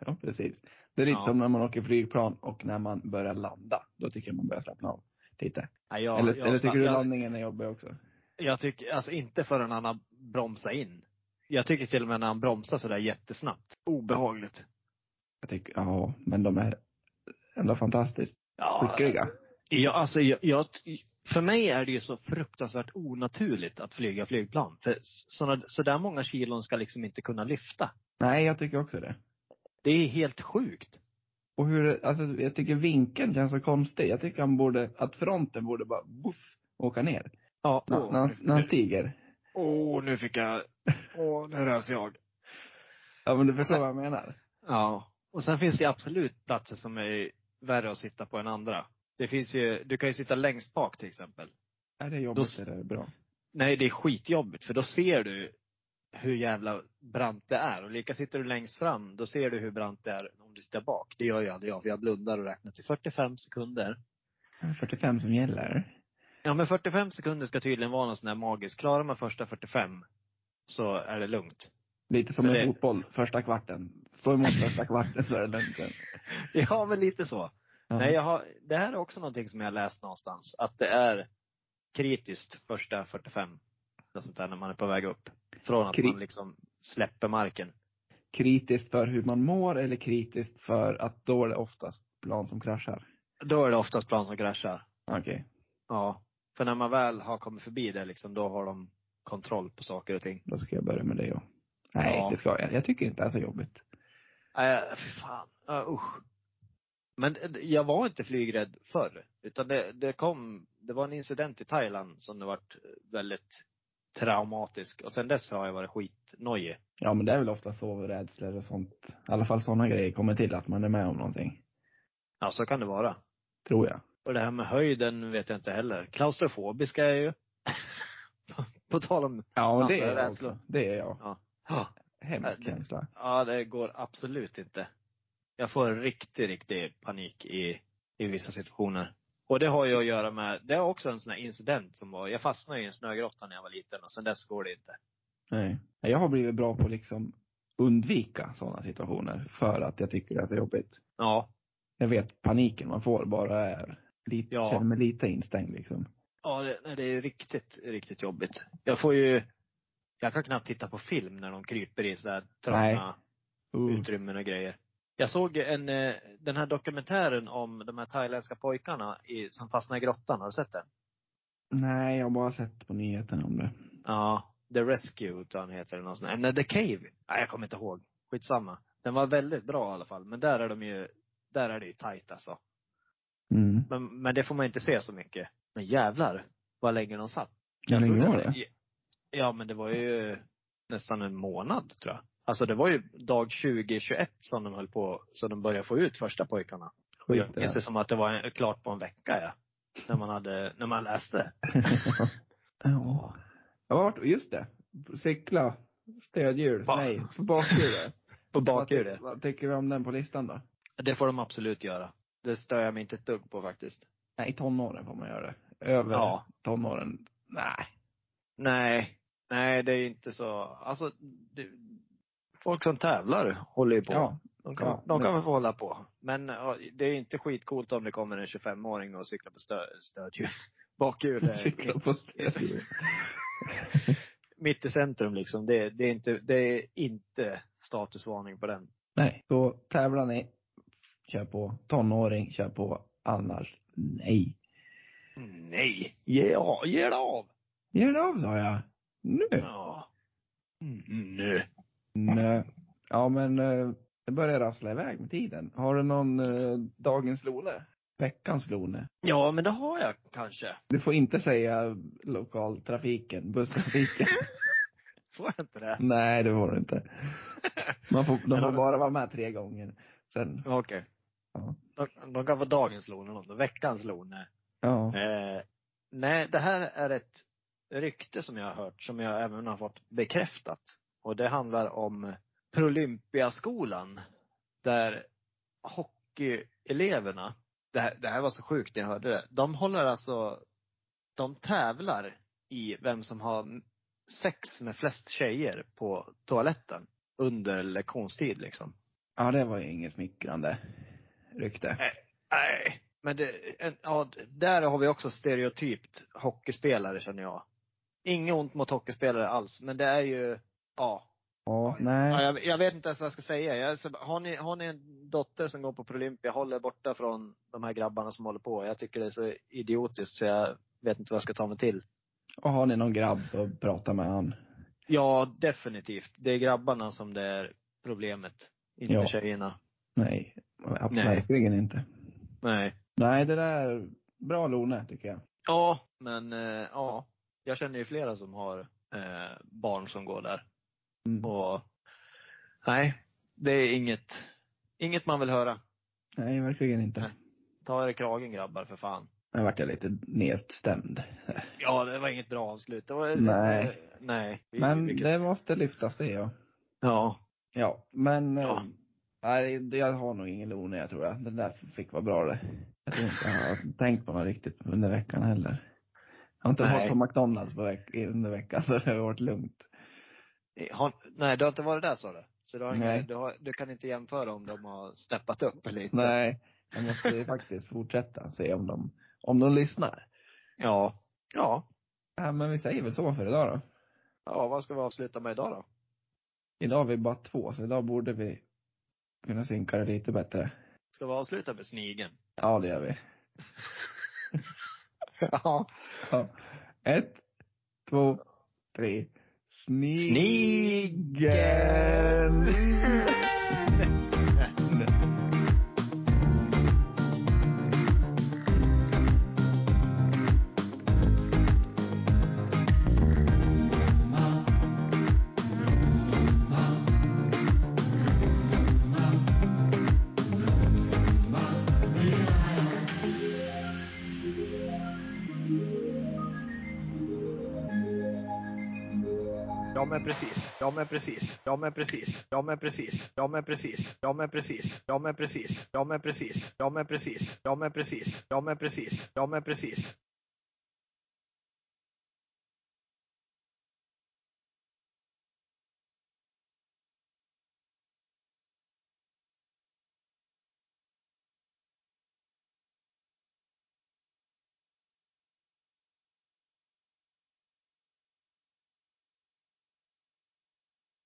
Speaker 1: Ja, precis. Det är lite
Speaker 2: Ja.
Speaker 1: som när man åker flygplan och när man börjar landa. Då tycker jag man börjar slappna av. Lite.
Speaker 2: Ja, jag,
Speaker 1: eller,
Speaker 2: jag,
Speaker 1: eller tycker du
Speaker 2: jag,
Speaker 1: landningen är jobbig också?
Speaker 2: Jag tycker, alltså inte förrän han har bromsat in. Jag tycker till och med när han bromsar sådär jättesnabbt. Obehagligt.
Speaker 1: Jag tycker, ja, men de är ändå fantastiskt
Speaker 2: Ja,
Speaker 1: skickliga.
Speaker 2: ja alltså jag, jag, för mig är det ju så fruktansvärt onaturligt att flyga flygplan. För såna, sådär många kilon ska liksom inte kunna lyfta.
Speaker 1: Nej, jag tycker också det.
Speaker 2: Det är helt sjukt.
Speaker 1: Och hur, alltså jag tycker vinkeln känns så konstig. Jag tycker han borde, att fronten borde bara, woof, åka ner.
Speaker 2: Ja,
Speaker 1: När, när, han, när han stiger.
Speaker 2: åh, nu fick jag, åh, nu rös jag.
Speaker 1: Ja men du förstår
Speaker 2: Alltså,
Speaker 1: vad jag menar.
Speaker 2: Ja. Och sen finns det ju absolut platser som är värre att sitta på än andra. Det finns ju, du kan ju sitta längst bak till exempel.
Speaker 1: Är det
Speaker 2: Då
Speaker 1: jobbigt
Speaker 2: s-
Speaker 1: eller är det bra?
Speaker 2: Nej, det är skitjobbigt för då ser du hur jävla brant det är. Och lika sitter du längst fram, då ser du hur brant det är om du sitter bak. Det gör ju aldrig jag, för jag blundar och räknar till 45 sekunder.
Speaker 1: Är det 45 som gäller.
Speaker 2: Ja, men 45 sekunder ska tydligen vara någon sån här magisk. Klarar man första 45 så är det lugnt.
Speaker 1: Lite som
Speaker 2: Men
Speaker 1: en
Speaker 2: det-
Speaker 1: fotboll, första kvarten. Stå emot första kvarten så är det lugnt sen.
Speaker 2: Ja, men lite så.
Speaker 1: Ja.
Speaker 2: Nej, jag har, det här är också någonting som jag har läst någonstans. Att det är kritiskt första 45. Eller sånt där när man är på väg upp. Från att
Speaker 1: Kri-
Speaker 2: man liksom släpper marken.
Speaker 1: Kritiskt för hur man mår eller kritiskt för att då är det oftast plan som kraschar.
Speaker 2: Då är det oftast plan som kraschar.
Speaker 1: Okej.
Speaker 2: Ja. För när man väl har kommit förbi det liksom, då har de kontroll på saker och ting.
Speaker 1: Då ska jag börja med det ja. Nej,
Speaker 2: Ja.
Speaker 1: det ska jag. Jag tycker inte det är så jobbigt.
Speaker 2: Äh, fy fan. Äh, usch. Men eh, jag var inte flygrädd förr. Utan det, det kom, det var en incident i Thailand som det vart eh, väldigt traumatisk. Och sen dess har jag varit skitnojig.
Speaker 1: Ja men det är väl ofta sovrädslor och sånt. I alla fall sådana grejer kommer till att man är med om någonting.
Speaker 2: Ja, så kan det vara.
Speaker 1: Tror jag.
Speaker 2: Och det här med höjden vet jag inte heller. Klaustrofobisk är jag ju. på, på tal om,
Speaker 1: Ja, men det
Speaker 2: Ja,
Speaker 1: är jag
Speaker 2: rädslor.
Speaker 1: också. Det är jag.
Speaker 2: ja,
Speaker 1: Hemsk
Speaker 2: Ja, det-
Speaker 1: känsla.
Speaker 2: Ja, det går absolut inte. Jag får riktig, riktig panik i, i vissa situationer. Och det har ju att göra med, det är också en sån här incident som var, jag fastnade i en snögrotta när jag var liten och sen dess går det inte.
Speaker 1: Nej. Jag har blivit bra på att liksom undvika sådana situationer för att jag tycker det är så jobbigt.
Speaker 2: Ja.
Speaker 1: Jag vet paniken man får bara är lite,
Speaker 2: Ja.
Speaker 1: känner mig lite instängd liksom.
Speaker 2: Ja, det, nej, det är riktigt, riktigt jobbigt. Jag får ju, jag kan knappt titta på film när de kryper i sådär trånga
Speaker 1: Uh.
Speaker 2: utrymmen och grejer. Jag såg en, eh, den här dokumentären om de här thailändska pojkarna i, som fastnade i grottan. Har du sett den?
Speaker 1: Nej, jag har bara sett på nyheterna om det.
Speaker 2: Ja, The Rescue tror jag han heter eller något sånt. där. Nej, The Cave. Nej, jag kommer inte ihåg. Skitsamma. Den var väldigt bra i alla fall. Men där är de ju, där är det ju tight alltså.
Speaker 1: Mm.
Speaker 2: Men, men det får man inte se så mycket. Men jävlar, vad länge de satt.
Speaker 1: Hur
Speaker 2: tror
Speaker 1: länge var det?
Speaker 2: Ja, men det var ju nästan en månad tror jag. Alltså det var ju dag 20, 21 som de höll på, som de började få ut första pojkarna.
Speaker 1: Skit i
Speaker 2: Jag minns det som att det var en, klart på en vecka ja. När man hade, när man läste.
Speaker 1: Ja. Jag har varit, just det. Cykla, stödhjul.
Speaker 2: Ba-
Speaker 1: Nej, för bakhjulet.
Speaker 2: På
Speaker 1: typ
Speaker 2: bakhjulet.
Speaker 1: Vad, vad tycker vi om den på listan då?
Speaker 2: Det får de absolut göra. Det stör jag mig inte ett dugg på faktiskt.
Speaker 1: Nej, i tonåren får man göra det. Över
Speaker 2: Ja.
Speaker 1: tonåren, nej.
Speaker 2: Nej. Nej, det är inte så. Alltså, det, folk som tävlar håller ju på.
Speaker 1: Ja.
Speaker 2: de kan,
Speaker 1: ja,
Speaker 2: de kan
Speaker 1: men-
Speaker 2: väl få hålla på. Men ja, det är inte skitcoolt om det kommer en 25-åring och cyklar på stö, stödhjul. Bakhjul är
Speaker 1: Cykla
Speaker 2: mitt,
Speaker 1: på stödhjul.
Speaker 2: mitt i centrum liksom. Det, det, är inte, det är inte statusvarning på den.
Speaker 1: Nej, så tävlar ni, kör på. Tonåring, kör på. Annars, nej.
Speaker 2: Nej! Ge, av- ge det av!
Speaker 1: Gör det av sa jag. Nu.
Speaker 2: Ja.
Speaker 1: Mm,
Speaker 2: Nej.
Speaker 1: Nej. Ja men, eh, det börjar rassla iväg med tiden. Har du någon eh, dagens Lone? Veckans Lone?
Speaker 2: Ja, men det har jag kanske.
Speaker 1: Du får inte säga lokaltrafiken, busstrafiken.
Speaker 2: Får jag inte det?
Speaker 1: Nej, det får du inte. Man får, de
Speaker 2: Men har
Speaker 1: får
Speaker 2: du-
Speaker 1: bara vara med tre gånger. Sen,
Speaker 2: Okej.
Speaker 1: Ja.
Speaker 2: De, de kan få dagens lån eller något, veckans lån.
Speaker 1: ja.
Speaker 2: Eh, nej, det här är ett rykte som jag har hört, som jag även har fått bekräftat. Och det handlar om Prolympiaskolan. Där hockeyeleverna, det här, det här var så sjukt när jag hörde det. De håller alltså, de tävlar i vem som har sex med flest tjejer på toaletten under lektionstid liksom.
Speaker 1: Ja, det var ju inget smickrande rykte.
Speaker 2: Nej. Nej. Men det, en, ja, där har vi också stereotypt hockeyspelare känner jag. Inget ont mot hockeyspelare alls, men det är ju, ja.
Speaker 1: Ja, nej.
Speaker 2: ja jag, jag vet inte ens vad jag ska säga. Jag, är så- har, ni, har ni en dotter som går på Prolympia, håll er borta från de här grabbarna som håller på. Jag tycker det är så idiotiskt så jag vet inte vad jag ska ta mig till.
Speaker 1: Och har ni någon grabb så prata med han.
Speaker 2: Ja, definitivt. Det är grabbarna som det är problemet. Inte
Speaker 1: Ja.
Speaker 2: tjejerna.
Speaker 1: Nej, absolut
Speaker 2: Nej.
Speaker 1: verkligen inte.
Speaker 2: Nej.
Speaker 1: Nej, det där, bra Lone tycker jag.
Speaker 2: Ja, men eh, ja. Jag känner ju flera som har eh, barn som går där.
Speaker 1: Mm.
Speaker 2: Och nej, det är inget, inget man vill höra.
Speaker 1: Nej, verkligen inte.
Speaker 2: Nej. Ta er i kragen grabbar för fan.
Speaker 1: Nu vart jag lite nedstämd.
Speaker 2: Ja, det var inget bra avslut. Det var,
Speaker 1: Nej.
Speaker 2: nej. Vi-
Speaker 1: Men
Speaker 2: vilket-
Speaker 1: det måste lyftas det ja.
Speaker 2: Ja.
Speaker 1: Ja, men
Speaker 2: Ja.
Speaker 1: eh, nej, det- jag har nog ingen Lone jag tror jag. Den där fick vara bra det. Jag tror inte jag har tänkt på något riktigt under veckan heller. Jag har inte
Speaker 2: Nej.
Speaker 1: varit på McDonalds på veck- under veckan så det har varit lugnt.
Speaker 2: Har, nej, du har inte varit där sa du? Så du, har inga,
Speaker 1: Nej.
Speaker 2: du, har, du kan inte jämföra om de har steppat upp eller inte?
Speaker 1: Nej, jag måste ju faktiskt fortsätta se om de, om de lyssnar.
Speaker 2: Ja. Ja.
Speaker 1: Ja, men vi säger väl så för idag då.
Speaker 2: Ja, vad ska vi avsluta med idag då?
Speaker 1: Idag är vi bara två, så idag borde vi kunna synka det lite bättre.
Speaker 2: Ska vi avsluta med snigeln?
Speaker 1: Ja, det gör vi.
Speaker 2: Ja.
Speaker 1: Ja. Ett, två, tre. Snigeln!
Speaker 2: Ja men precis. Ja men precis. Ja men precis. Ja men precis. Ja men precis. Ja men precis. Ja men precis. Ja men precis. Ja men precis. Ja men precis. Ja men precis. Ja men precis.